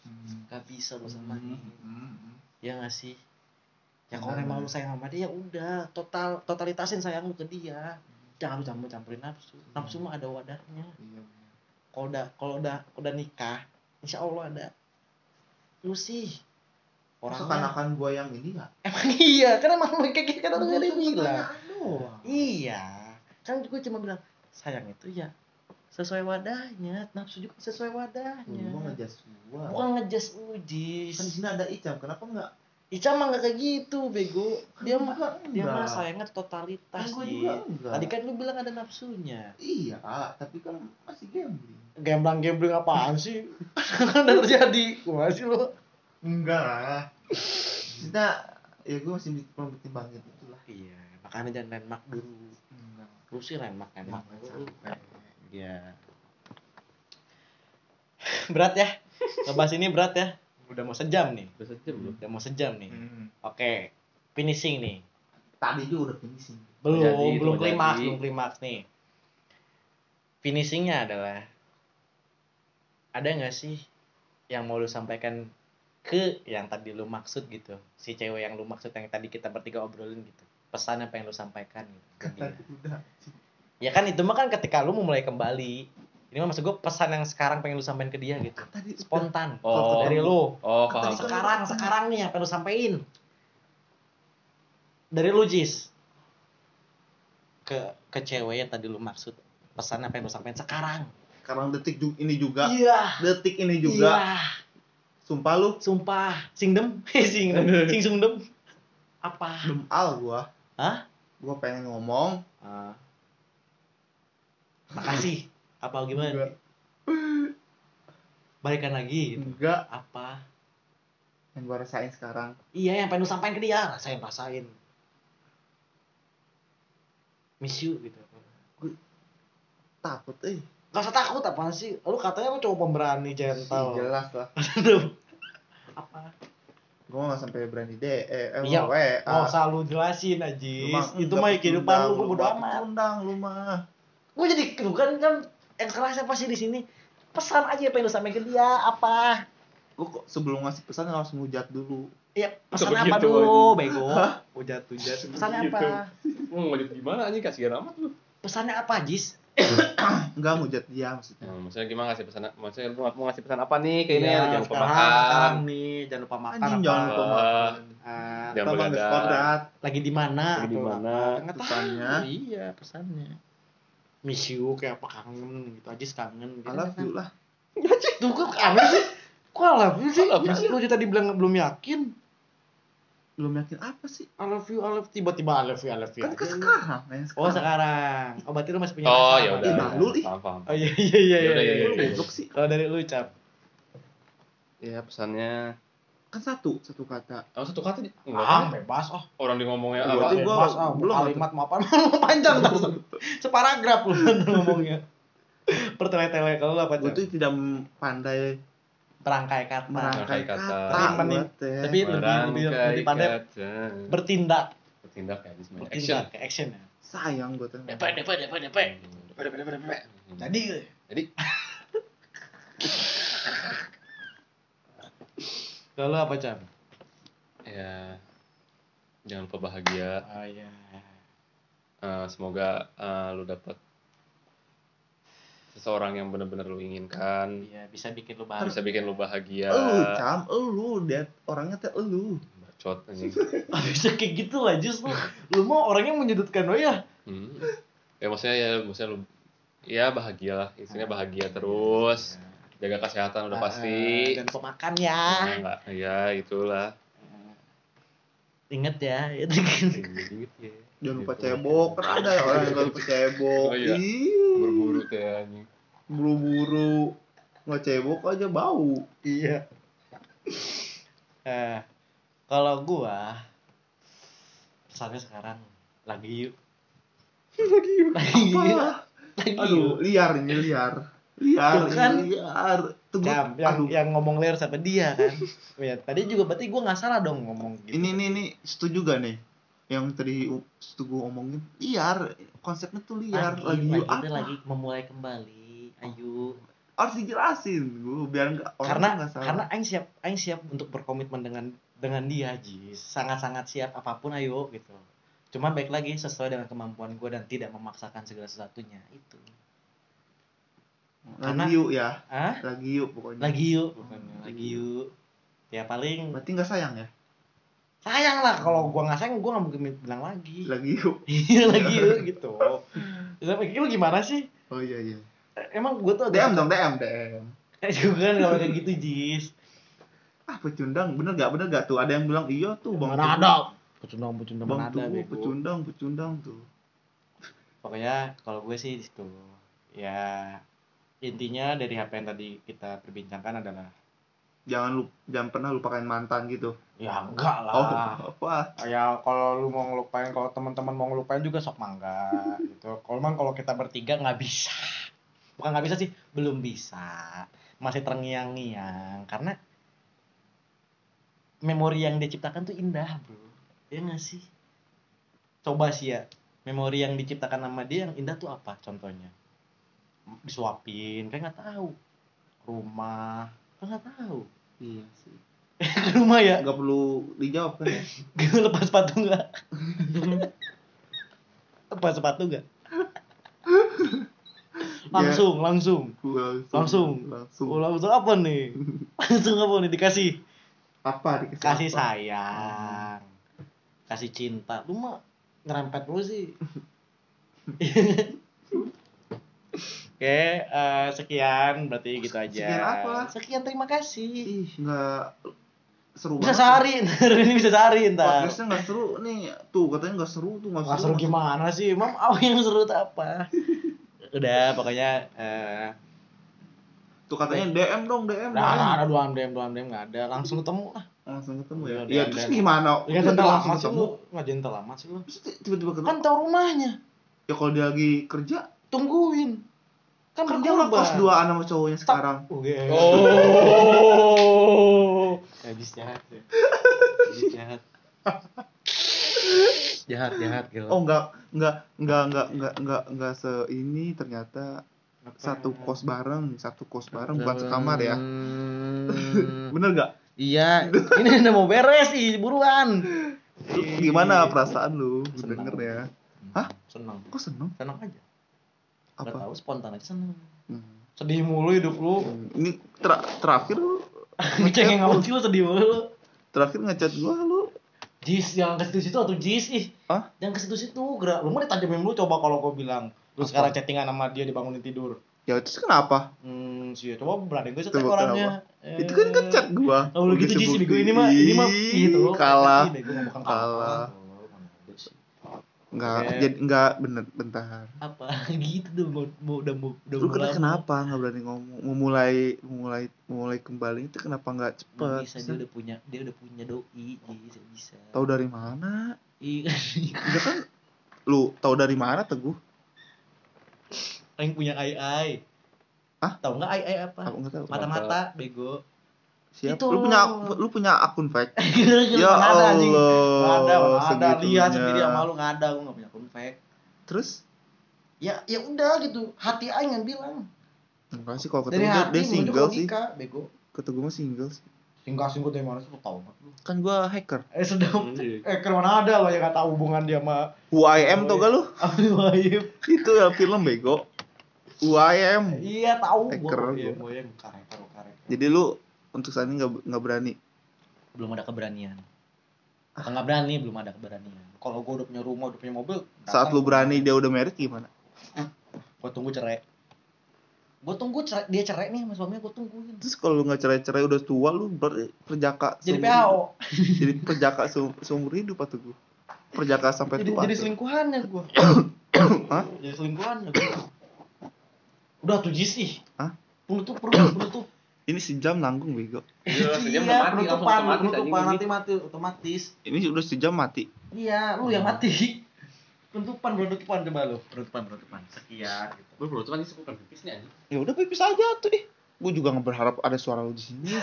[SPEAKER 4] Hmm.
[SPEAKER 1] nggak bisa lu samain
[SPEAKER 2] Mm-hmm.
[SPEAKER 4] Hmm.
[SPEAKER 1] ya nggak sih ya
[SPEAKER 4] Benar,
[SPEAKER 1] kalau memang lu
[SPEAKER 4] benar.
[SPEAKER 1] sayang sama dia ya udah total totalitasin sayang lu ke dia jangan lu campur campurin nafsu
[SPEAKER 4] Hmm.
[SPEAKER 1] nafsu mah ada wadahnya
[SPEAKER 4] Iya.
[SPEAKER 1] kalau udah kalau udah udah nikah insya allah ada lu sih
[SPEAKER 4] Orang
[SPEAKER 1] orang
[SPEAKER 4] akan gua yang ini ya?
[SPEAKER 1] emang iya kan emang lu kayak kayak kata lu tadi bilang
[SPEAKER 4] Doang.
[SPEAKER 1] iya kan gue cuma bilang sayang itu ya sesuai wadahnya nafsu juga sesuai
[SPEAKER 4] Lu mau
[SPEAKER 1] wadahnya
[SPEAKER 4] ngejas Iya, gua.
[SPEAKER 1] bukan ngejas
[SPEAKER 4] Kan di
[SPEAKER 1] ujis
[SPEAKER 4] sini ada Icam, kenapa enggak?
[SPEAKER 1] Ica mah gak kayak gitu bego dia mah
[SPEAKER 4] Enggak,
[SPEAKER 1] dia
[SPEAKER 4] enggak.
[SPEAKER 1] mah sayangnya totalitas
[SPEAKER 4] Kan gua
[SPEAKER 1] Ji.
[SPEAKER 4] juga enggak.
[SPEAKER 1] Nah. tadi kan lu bilang ada nafsunya
[SPEAKER 4] Iya, tapi kan masih gambling.
[SPEAKER 1] gamblang gambling apaan sih udah terjadi gua sih lu
[SPEAKER 4] Enggak lah. Kita ya gua masih mem- mempertimbangkan itulah.
[SPEAKER 1] iya makanya jangan landmark dulu
[SPEAKER 2] Iya,
[SPEAKER 4] Enggak.
[SPEAKER 1] lu sih kan? landmark landmark
[SPEAKER 4] Jangan sampai.
[SPEAKER 1] iya berat ya ngebahas ini berat ya udah mau sejam nih
[SPEAKER 3] Udah sejam belum?
[SPEAKER 1] udah mau sejam nih
[SPEAKER 4] Hmm.
[SPEAKER 1] oke finishing nih
[SPEAKER 4] Tadi juga udah finishing.
[SPEAKER 1] belum
[SPEAKER 3] Jadi, itu
[SPEAKER 1] belum
[SPEAKER 3] mau
[SPEAKER 1] klimaks
[SPEAKER 3] jadi.
[SPEAKER 1] belum klimaks nih finishingnya adalah ada nggak sih yang mau lu sampaikan ke yang tadi lu maksud gitu si cewek yang lu maksud yang tadi kita bertiga obrolin gitu pesan apa yang lu sampaikan gitu ke dia.
[SPEAKER 4] Tadi udah.
[SPEAKER 1] ya kan itu mah kan ketika lu memulai kembali ini mah maksud gue pesan yang sekarang pengen lu sampaikan ke dia gitu
[SPEAKER 4] Tadi udah.
[SPEAKER 1] spontan
[SPEAKER 3] Oh.
[SPEAKER 1] dari lu
[SPEAKER 3] Oh,
[SPEAKER 4] Kata
[SPEAKER 3] paham.
[SPEAKER 4] dia-
[SPEAKER 1] sekarang sekarang nih apa yang lu sampein dari lu Jis ke ke cewek yang tadi lu maksud pesan apa yang lu sampein sekarang
[SPEAKER 4] Sekarang detik ju- ini juga.
[SPEAKER 1] iya
[SPEAKER 4] Detik ini juga.
[SPEAKER 1] iya
[SPEAKER 4] Sumpah lu
[SPEAKER 1] sumpah singdem Iya, singdem sing sungdem apa
[SPEAKER 4] dem al gua.
[SPEAKER 1] Hah?
[SPEAKER 4] Gua pengen ngomong.
[SPEAKER 1] Ah. makasih apa gimana
[SPEAKER 4] Enggak.
[SPEAKER 1] balikan lagi gitu.
[SPEAKER 4] Enggak.
[SPEAKER 1] apa
[SPEAKER 4] yang gue rasain sekarang
[SPEAKER 1] Iya, yang pengen lu sampaikan ke dia, rasain, rasain. Miss you gitu.
[SPEAKER 4] takut eh
[SPEAKER 1] Gak usah takut apaan sih? Lu katanya lu cowok pemberani, gentle.
[SPEAKER 4] jelas lah
[SPEAKER 1] Aduh. Apa?
[SPEAKER 4] gue nggak sampai berani deh eh, eh
[SPEAKER 1] Iya.
[SPEAKER 4] eh,
[SPEAKER 1] Gak usah lu jelasin, Ajis. Itu mah ya kehidupan lu, gue bodo amat.
[SPEAKER 4] undang lu mah
[SPEAKER 1] Gue jadi, lu kan, kan yang kerasa apa sih di sini? Pesan aja yang pengen lu sampaikan ke dia, apa?
[SPEAKER 4] gue kok sebelum ngasih pesan harus ngujat dulu
[SPEAKER 1] Ya, pesan
[SPEAKER 3] Kok
[SPEAKER 1] apa
[SPEAKER 3] begitu,
[SPEAKER 1] dulu, bego?
[SPEAKER 4] ujat ujat
[SPEAKER 1] Pesannya apa?
[SPEAKER 3] Gitu. Mau ngajut gimana anjing kasihan amat lu.
[SPEAKER 1] Pesannya apa, Ajis?
[SPEAKER 4] enggak ngujat dia maksudnya
[SPEAKER 3] Hmm, maksudnya gimana ngasih pesan? Maksudnya lu mau ngasih pesan apa nih ke ini?
[SPEAKER 1] Iya,
[SPEAKER 3] jangan lupa
[SPEAKER 1] sekarang-
[SPEAKER 3] makan.
[SPEAKER 1] Sekarang nih, jangan lupa makan.
[SPEAKER 4] anjing
[SPEAKER 1] apa?
[SPEAKER 4] jangan lupa makan
[SPEAKER 1] Ah,
[SPEAKER 3] Jangan
[SPEAKER 4] Tolong
[SPEAKER 3] begadang.
[SPEAKER 4] disordat.
[SPEAKER 1] lagi di mana?
[SPEAKER 3] Lagi di
[SPEAKER 1] atau
[SPEAKER 3] mana?
[SPEAKER 1] apa? Nggak tahu.
[SPEAKER 4] pesannya
[SPEAKER 3] Iya, pesannya.
[SPEAKER 1] miss you kayak apa kangen gitu aja kangen gitu Eh,
[SPEAKER 4] I love you lah
[SPEAKER 1] tuh kok kangen sih kok I love you sih
[SPEAKER 3] I love you sih.
[SPEAKER 1] lu tadi bilang belum yakin
[SPEAKER 4] belum yakin apa sih
[SPEAKER 1] I love you I love tiba-tiba I love you I love
[SPEAKER 3] Ya.
[SPEAKER 1] you
[SPEAKER 4] kan ke
[SPEAKER 1] aja.
[SPEAKER 4] sekarang nah yang
[SPEAKER 1] oh
[SPEAKER 4] sekarang
[SPEAKER 1] sekarang oh berarti lu masih punya
[SPEAKER 3] Oh,
[SPEAKER 1] rasa
[SPEAKER 3] ya
[SPEAKER 1] sama
[SPEAKER 3] udah.
[SPEAKER 4] Ih,
[SPEAKER 1] dia.
[SPEAKER 4] malu, ih.
[SPEAKER 3] Paham, paham.
[SPEAKER 1] oh iya iya iya
[SPEAKER 3] Ya udah,
[SPEAKER 1] iya,
[SPEAKER 3] ya
[SPEAKER 1] iya.
[SPEAKER 4] Lu
[SPEAKER 3] udah.
[SPEAKER 4] goblok sih
[SPEAKER 1] kalau dari lu cap
[SPEAKER 3] Iya, pesannya.
[SPEAKER 4] kan satu satu kata
[SPEAKER 3] Oh, satu kata di- enggak.
[SPEAKER 1] ah bebas oh
[SPEAKER 3] Orang di ngomongnya
[SPEAKER 4] Iya,
[SPEAKER 3] apa?
[SPEAKER 4] tapi gua
[SPEAKER 1] bebas
[SPEAKER 3] oh.
[SPEAKER 1] ah
[SPEAKER 4] belum.
[SPEAKER 1] belum kalimat mau apa mau panjang tau separagraf lu kan ngomongnya bertele-tele kalau lu apa
[SPEAKER 4] gue
[SPEAKER 1] Cap?
[SPEAKER 4] tuh tidak pandai
[SPEAKER 1] perangkai kata
[SPEAKER 4] merangkai
[SPEAKER 3] Nah, kata.
[SPEAKER 4] kata
[SPEAKER 1] Tapi-
[SPEAKER 4] buat teh.
[SPEAKER 1] tapi- lebih- lebih- lebih pandai bertindak
[SPEAKER 3] bertindak kayak gitu. Action.
[SPEAKER 1] bertindak ke action ya
[SPEAKER 4] sayang gue tuh
[SPEAKER 1] depan depan depan
[SPEAKER 3] Hmm.
[SPEAKER 1] depan depan depan jadi
[SPEAKER 3] Jadi
[SPEAKER 1] Kalau apa Cam?
[SPEAKER 3] ya jangan lupa bahagia.
[SPEAKER 1] Oh iya.
[SPEAKER 3] Eh, semoga eh, lu dapat seseorang yang benar-benar lu inginkan.
[SPEAKER 1] Iya bisa bikin lu bahagia.
[SPEAKER 3] Bisa bikin lu bahagia.
[SPEAKER 4] elu cam elu dia orangnya teh elu
[SPEAKER 3] Bacot anjing.
[SPEAKER 4] Uh.
[SPEAKER 1] bisa kayak gitu lah justru. Lu mau orangnya menyudutkan oh ya.
[SPEAKER 3] Hmm. Ya maksudnya ya maksudnya lu ya bahagia lah isinya bahagia terus jaga kesehatan udah pasti
[SPEAKER 1] Ah, Dan lupa makan
[SPEAKER 3] ya
[SPEAKER 1] ya.
[SPEAKER 3] enggak ya itulah
[SPEAKER 1] Ingat ya. itu gini.
[SPEAKER 3] ya
[SPEAKER 4] jangan lupa
[SPEAKER 3] Gitu.
[SPEAKER 4] cebok kan ada ya orang yang gak lupa cebok
[SPEAKER 3] Oh, iya.
[SPEAKER 4] Ih,
[SPEAKER 3] berburu teh anjing
[SPEAKER 4] buru-buru nggak cebok aja bau
[SPEAKER 1] iya. Eh, kalau gua pesannya sekarang lagi yuk. Lagi yuk. Lagi yuk.
[SPEAKER 4] Apa?
[SPEAKER 1] Lagi yuk.
[SPEAKER 4] aduh liar ini liar liar
[SPEAKER 1] Tuh kan.
[SPEAKER 4] ini liar tuh gua-
[SPEAKER 1] Cam, yang,
[SPEAKER 4] aduh
[SPEAKER 1] yang ngomong ler sama dia kan. ya, tadi juga berarti gua nggak salah dong ngomong gitu.
[SPEAKER 4] ini ini ini setuju gak nih yang tadi u- setuju omongin liar konsepnya tuh liar
[SPEAKER 1] lagi
[SPEAKER 4] lagi,
[SPEAKER 1] lagi,
[SPEAKER 4] yuk
[SPEAKER 1] lagi,
[SPEAKER 4] apa
[SPEAKER 1] memulai kembali ayo
[SPEAKER 4] harus dijelasin gue biar nggak orang
[SPEAKER 1] karena
[SPEAKER 4] tuh nggak salah
[SPEAKER 1] karena aing siap aing siap untuk berkomitmen dengan dengan dia Jis sangat-sangat siap apapun ayo gitu cuman baik lagi sesuai dengan kemampuan gue dan tidak memaksakan segala sesuatunya itu
[SPEAKER 4] lagi
[SPEAKER 1] karena-
[SPEAKER 4] yuk ya
[SPEAKER 1] ah
[SPEAKER 4] lagi yuk pokoknya
[SPEAKER 1] lagi yuk
[SPEAKER 4] Bukannya.
[SPEAKER 1] lagi yuk ya paling
[SPEAKER 4] berarti nggak sayang ya
[SPEAKER 1] sayang lah kalau gue nggak sayang gue nggak mungkin bilang lagi
[SPEAKER 4] lagi yuk
[SPEAKER 1] Iya, lagi yuk gitu tapi lu gitu gimana sih
[SPEAKER 4] oh iya iya
[SPEAKER 1] emang gue tuh
[SPEAKER 4] dm
[SPEAKER 1] agak
[SPEAKER 4] dong dm dm
[SPEAKER 1] juga kalau kayak gitu Jis
[SPEAKER 4] ah pecundang bener gak bener gak tuh ada yang bilang iya tuh bang
[SPEAKER 1] Mana ada? Pecundang pecundang
[SPEAKER 4] bang
[SPEAKER 1] mana ada
[SPEAKER 4] tuh
[SPEAKER 1] bego.
[SPEAKER 4] pecundang pecundang tuh
[SPEAKER 1] Pokoknya kalau gue sih di situ ya intinya dari apa yang tadi kita perbincangkan adalah
[SPEAKER 4] jangan lu jangan pernah lupakan mantan gitu
[SPEAKER 1] ya enggak
[SPEAKER 4] oh
[SPEAKER 1] lah.
[SPEAKER 4] apa
[SPEAKER 1] Ya kalau lu mau ngelupain kalau teman-teman mau ngelupain juga sok mangga gitu. Kalau emang kalau kita bertiga nggak bisa. Bukan nggak bisa sih, belum bisa. Masih terngiang-ngiang karena memori yang dia ciptakan tuh indah, Bro. Ya nggak sih? Coba sih ya, memori yang diciptakan sama dia yang indah tuh apa contohnya? Disuapin, kan nggak tahu. Rumah, kan nggak tahu.
[SPEAKER 4] iya sih
[SPEAKER 1] Rumah ya,
[SPEAKER 4] nggak perlu dijawab kan ya
[SPEAKER 1] Gue lepas sepatu nggak? lepas sepatu nggak? langsung,
[SPEAKER 4] Ya.
[SPEAKER 1] langsung. Langsung.
[SPEAKER 4] langsung
[SPEAKER 1] Oh, langsung apa nih? Langsung apa nih dikasih?
[SPEAKER 4] apa dikasih
[SPEAKER 1] Kasih
[SPEAKER 4] apa?
[SPEAKER 1] sayang. Kasih cinta. Lu mah ngerempet lu sih. Oke, eh, sekian berarti gitu aja.
[SPEAKER 4] Oh, Sekian apa?
[SPEAKER 1] Sekian terima kasih.
[SPEAKER 4] ih nggak seru
[SPEAKER 1] Bisa
[SPEAKER 4] banget
[SPEAKER 1] sehari, ini bisa sehari ntar.
[SPEAKER 4] podcastnya nggak seru nih tuh katanya nggak seru tuh nggak
[SPEAKER 1] Nggak seru gimana sih, Mam? Aku yang seru tuh apa? Udah, pokoknya eh,
[SPEAKER 4] tuh katanya DM dong DM
[SPEAKER 1] Nah, nah,
[SPEAKER 4] dong
[SPEAKER 1] nah, doang DM, doang DM nggak ada. Langsung ketemu lah.
[SPEAKER 4] langsung ketemu ya
[SPEAKER 1] Iya,
[SPEAKER 4] iya
[SPEAKER 1] DM.
[SPEAKER 4] terus gimana
[SPEAKER 1] Ya
[SPEAKER 4] Udah
[SPEAKER 1] kental
[SPEAKER 4] langsung
[SPEAKER 1] amat sih
[SPEAKER 4] ketemu
[SPEAKER 1] lu. Nggak jentel amat sih lu.
[SPEAKER 4] terus tiba-tiba ketemu
[SPEAKER 1] Kan tahu rumahnya.
[SPEAKER 4] ya kalau dia lagi kerja
[SPEAKER 1] Tungguin. Kan
[SPEAKER 4] kan
[SPEAKER 1] kerja
[SPEAKER 4] gue
[SPEAKER 1] lebar.
[SPEAKER 4] kos dua anak sama cowoknya sekarang
[SPEAKER 1] UGM.
[SPEAKER 3] Oh.
[SPEAKER 1] iya. Habis jahat ya. Habis jahat.
[SPEAKER 3] jahat jahat gitu.
[SPEAKER 4] oh enggak enggak enggak enggak enggak enggak enggak se ini ternyata satu
[SPEAKER 1] Iya.
[SPEAKER 4] kos bareng satu kos bareng bukan
[SPEAKER 1] Hmm.
[SPEAKER 4] sekamar ya bener gak
[SPEAKER 3] Iya.
[SPEAKER 1] Ini udah mau beres ih, buruan.
[SPEAKER 4] Lu
[SPEAKER 1] Iya.
[SPEAKER 4] gimana perasaan lu
[SPEAKER 1] Senang.
[SPEAKER 4] denger ya Hah?
[SPEAKER 1] Seneng.
[SPEAKER 4] kok seneng
[SPEAKER 1] Seneng aja. Gak tahu
[SPEAKER 4] apa
[SPEAKER 1] spontan aja seneng.
[SPEAKER 4] Hmm.
[SPEAKER 1] Sedih mulu hidup lu.
[SPEAKER 4] ini ter- terakhir lu
[SPEAKER 1] Ngecengin amat sih lu sedih mulu. lu.
[SPEAKER 4] terakhir ngechat gua lu
[SPEAKER 1] Jis yang ke situ-situ atau jis ih.
[SPEAKER 4] Hah?
[SPEAKER 1] Yang ke situ-situ gerak. Lu mau ditajamin lu coba kalau gua bilang. Lu
[SPEAKER 4] Apa?
[SPEAKER 1] sekarang chattingan sama dia dibangunin tidur.
[SPEAKER 4] ya terus kenapa
[SPEAKER 1] Hmm, sih coba berani gue cek
[SPEAKER 4] Coba
[SPEAKER 1] orangnya. Eh,
[SPEAKER 4] itu kan kan chat gua
[SPEAKER 1] Kalau lu gitu
[SPEAKER 4] Gua
[SPEAKER 1] jis bego
[SPEAKER 4] sebutin.
[SPEAKER 1] ini mah ini mah
[SPEAKER 4] Ih,
[SPEAKER 1] gitu.
[SPEAKER 4] kalah
[SPEAKER 1] Ih, bego, bukan
[SPEAKER 4] Kalah.
[SPEAKER 1] Oh, mana ada sih.
[SPEAKER 4] nggak
[SPEAKER 1] Oke.
[SPEAKER 4] jadi nggak bener bentar
[SPEAKER 1] Apa gitu tuh mau, mau udah mau udah
[SPEAKER 4] lu
[SPEAKER 1] mau
[SPEAKER 4] kena
[SPEAKER 1] lama.
[SPEAKER 4] kenapa nggak berani ngomong memulai mulai mulai kembali itu kenapa nggak
[SPEAKER 1] Nggak
[SPEAKER 4] cepet
[SPEAKER 1] bisa dia udah punya dia udah punya doi jis nggak bisa.
[SPEAKER 4] tahu dari mana
[SPEAKER 1] Ih,
[SPEAKER 4] udah kan lu tahu dari mana teguh
[SPEAKER 1] yang punya ai ai.
[SPEAKER 4] Hah?
[SPEAKER 1] Tahu nggak ai ai
[SPEAKER 4] aku
[SPEAKER 1] apa?
[SPEAKER 4] nggak tahu
[SPEAKER 1] Mata-mata bego.
[SPEAKER 4] siap
[SPEAKER 1] Itu.
[SPEAKER 4] lu punya lu punya akun fake ya
[SPEAKER 1] ya
[SPEAKER 4] allah
[SPEAKER 1] ada mana ada lihat
[SPEAKER 4] segitunya.
[SPEAKER 1] sendiri sama lu nggak ada gue nggak punya akun fake
[SPEAKER 4] terus
[SPEAKER 1] ya ya udah gitu hati aing yang bilang
[SPEAKER 4] enggak sih kalau
[SPEAKER 1] dari
[SPEAKER 4] ketemu dia,
[SPEAKER 1] hati
[SPEAKER 4] dia
[SPEAKER 1] menuju
[SPEAKER 4] single
[SPEAKER 1] ke
[SPEAKER 4] sih
[SPEAKER 1] logika, bego
[SPEAKER 4] ketemu mah single sih
[SPEAKER 1] singgah singgah dari mana sih lu tau banget lu
[SPEAKER 4] kan gua hacker
[SPEAKER 1] eh sedap
[SPEAKER 4] Hmm.
[SPEAKER 1] eh kemana ada lo yang nggak tahu hubungan dia sama
[SPEAKER 4] who I am tau gak lu
[SPEAKER 1] Abdul Wahib
[SPEAKER 4] itu ya film bego who I am
[SPEAKER 1] iya tahu gue
[SPEAKER 4] Hacker,
[SPEAKER 1] iya
[SPEAKER 4] gua.
[SPEAKER 1] gue yang karakter karakter
[SPEAKER 4] jadi lu untuk saat ini nggak nggak berani
[SPEAKER 1] belum ada keberanian Kalau nggak berani belum ada keberanian kalau gue udah punya rumah udah punya mobil
[SPEAKER 4] saat lu berani dia udah married gimana
[SPEAKER 1] gue tunggu cerai gue tunggu cerai dia cerai nih sama suaminya gue tungguin
[SPEAKER 4] terus kalau lu nggak cerai-cerai udah tua lu berarti perjaka
[SPEAKER 1] jadi
[SPEAKER 4] seumur
[SPEAKER 1] PAO
[SPEAKER 4] hidup. jadi perjaka seum- seumur hidup atau gue perjaka sampai
[SPEAKER 1] jadi,
[SPEAKER 4] tua
[SPEAKER 1] jadi
[SPEAKER 4] tuh.
[SPEAKER 1] selingkuhannya gue
[SPEAKER 4] Hah?
[SPEAKER 1] jadi selingkuhannya gue udah tuh jis ih
[SPEAKER 4] Hah?
[SPEAKER 1] penutup perut penutup
[SPEAKER 4] ini sejam nanggung bego
[SPEAKER 3] Iya, sejam udah mati, langsung
[SPEAKER 1] penutupan
[SPEAKER 3] otomatis
[SPEAKER 1] penutupan
[SPEAKER 3] anjing ini.
[SPEAKER 1] nanti mati otomatis
[SPEAKER 4] ini udah sejam mati
[SPEAKER 1] iya lu yang mati penutupan penutupan coba lu penutupan penutupan sekian gitu
[SPEAKER 3] Gue perlu cuman disukup pipis nih anjing.
[SPEAKER 4] ya udah pipis aja tuh ih gue juga nggak berharap ada suara lu di sini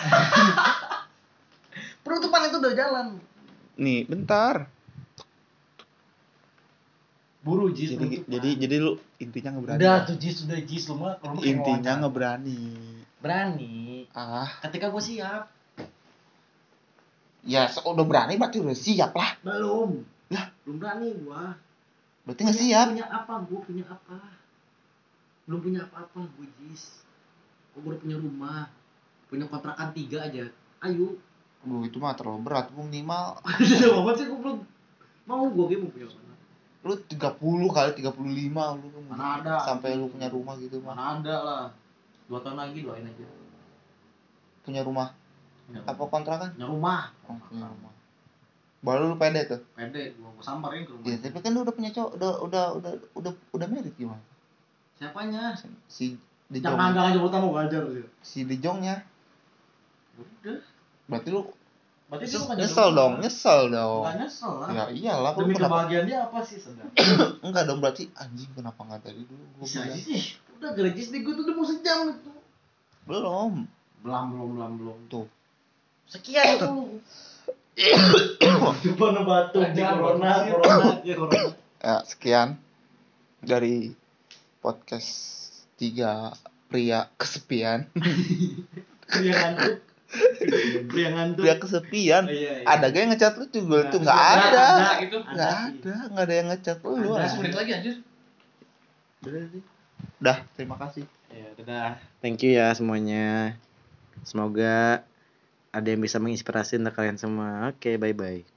[SPEAKER 1] penutupan itu udah jalan
[SPEAKER 4] nih bentar
[SPEAKER 1] buru jis
[SPEAKER 4] jadi
[SPEAKER 1] penutupan.
[SPEAKER 4] jadi jadi lu intinya nggak berani
[SPEAKER 1] udah tuh jis udah jis lu mah kalau lu kayak
[SPEAKER 4] intinya
[SPEAKER 1] ngawajar.
[SPEAKER 4] nggak berani
[SPEAKER 1] berani
[SPEAKER 4] ah
[SPEAKER 1] ketika gue siap
[SPEAKER 4] ya se- udah berani berarti udah siap lah
[SPEAKER 1] belum lah belum berani gue
[SPEAKER 4] berarti nggak siap
[SPEAKER 1] punya apa gue punya apa belum punya apa-apa gue jis gue baru punya rumah punya kontrakan tiga aja ayo
[SPEAKER 4] Aduh itu mah terlalu berat Gua minimal
[SPEAKER 1] udah mau sih gue belum mau gue gue mau punya mana
[SPEAKER 4] lu 30 kali 35 lu
[SPEAKER 1] Mana ada.
[SPEAKER 4] sampai lu punya rumah gitu mah
[SPEAKER 1] mana ada lah dua tahun lagi doain aja
[SPEAKER 4] punya rumah
[SPEAKER 1] punya
[SPEAKER 4] apa
[SPEAKER 1] rumah,
[SPEAKER 4] kontrakan
[SPEAKER 1] punya rumah.
[SPEAKER 4] oh, punya rumah baru lu pede tuh
[SPEAKER 1] pede gue gue samperin ke rumah
[SPEAKER 4] ya, tapi kan lu udah punya cowok udah udah udah udah udah married gimana
[SPEAKER 1] siapanya
[SPEAKER 4] si
[SPEAKER 1] yang
[SPEAKER 4] Dejong
[SPEAKER 1] nanggal aja utama gue ajar sih
[SPEAKER 4] si Dejongnya
[SPEAKER 1] udah
[SPEAKER 4] berarti lu
[SPEAKER 1] berarti dia bukan
[SPEAKER 4] nyesel
[SPEAKER 1] jodoh
[SPEAKER 4] dong
[SPEAKER 1] gua.
[SPEAKER 4] nyesel dong
[SPEAKER 1] Nggak nyesel lah
[SPEAKER 4] ya iyalah lu
[SPEAKER 1] demi
[SPEAKER 4] kenapa
[SPEAKER 1] kebahagiaan dia apa sih sedang
[SPEAKER 4] enggak dong berarti anjing kenapa nggak dari dulu gua
[SPEAKER 1] bisa aja
[SPEAKER 4] bilang.
[SPEAKER 1] sih udah gerejis deh gue tuh udah mau sejam itu
[SPEAKER 4] belum
[SPEAKER 1] belum belum belum belum
[SPEAKER 4] Tuh.
[SPEAKER 1] sekian tuh Depan batuk di corona, corona, ya corona.
[SPEAKER 4] Ya, sekian dari podcast tiga pria kesepian.
[SPEAKER 1] Pria ngantuk. Pria ngantuk.
[SPEAKER 4] Pria kesepian. Ada gak yang ngechat lu juga itu Oh, iya, nggak ada.
[SPEAKER 3] gitu.
[SPEAKER 4] Nggak ada, nggak ada yang ngechat lu.
[SPEAKER 1] Ada.
[SPEAKER 4] anjing.
[SPEAKER 3] Menit lagi anjir.
[SPEAKER 4] Udah, udah. Dah, terima kasih.
[SPEAKER 1] Ya, dadah.
[SPEAKER 6] Thank you ya semuanya. Semoga ada yang bisa menginspirasi untuk kalian semua. Oke, bye-bye.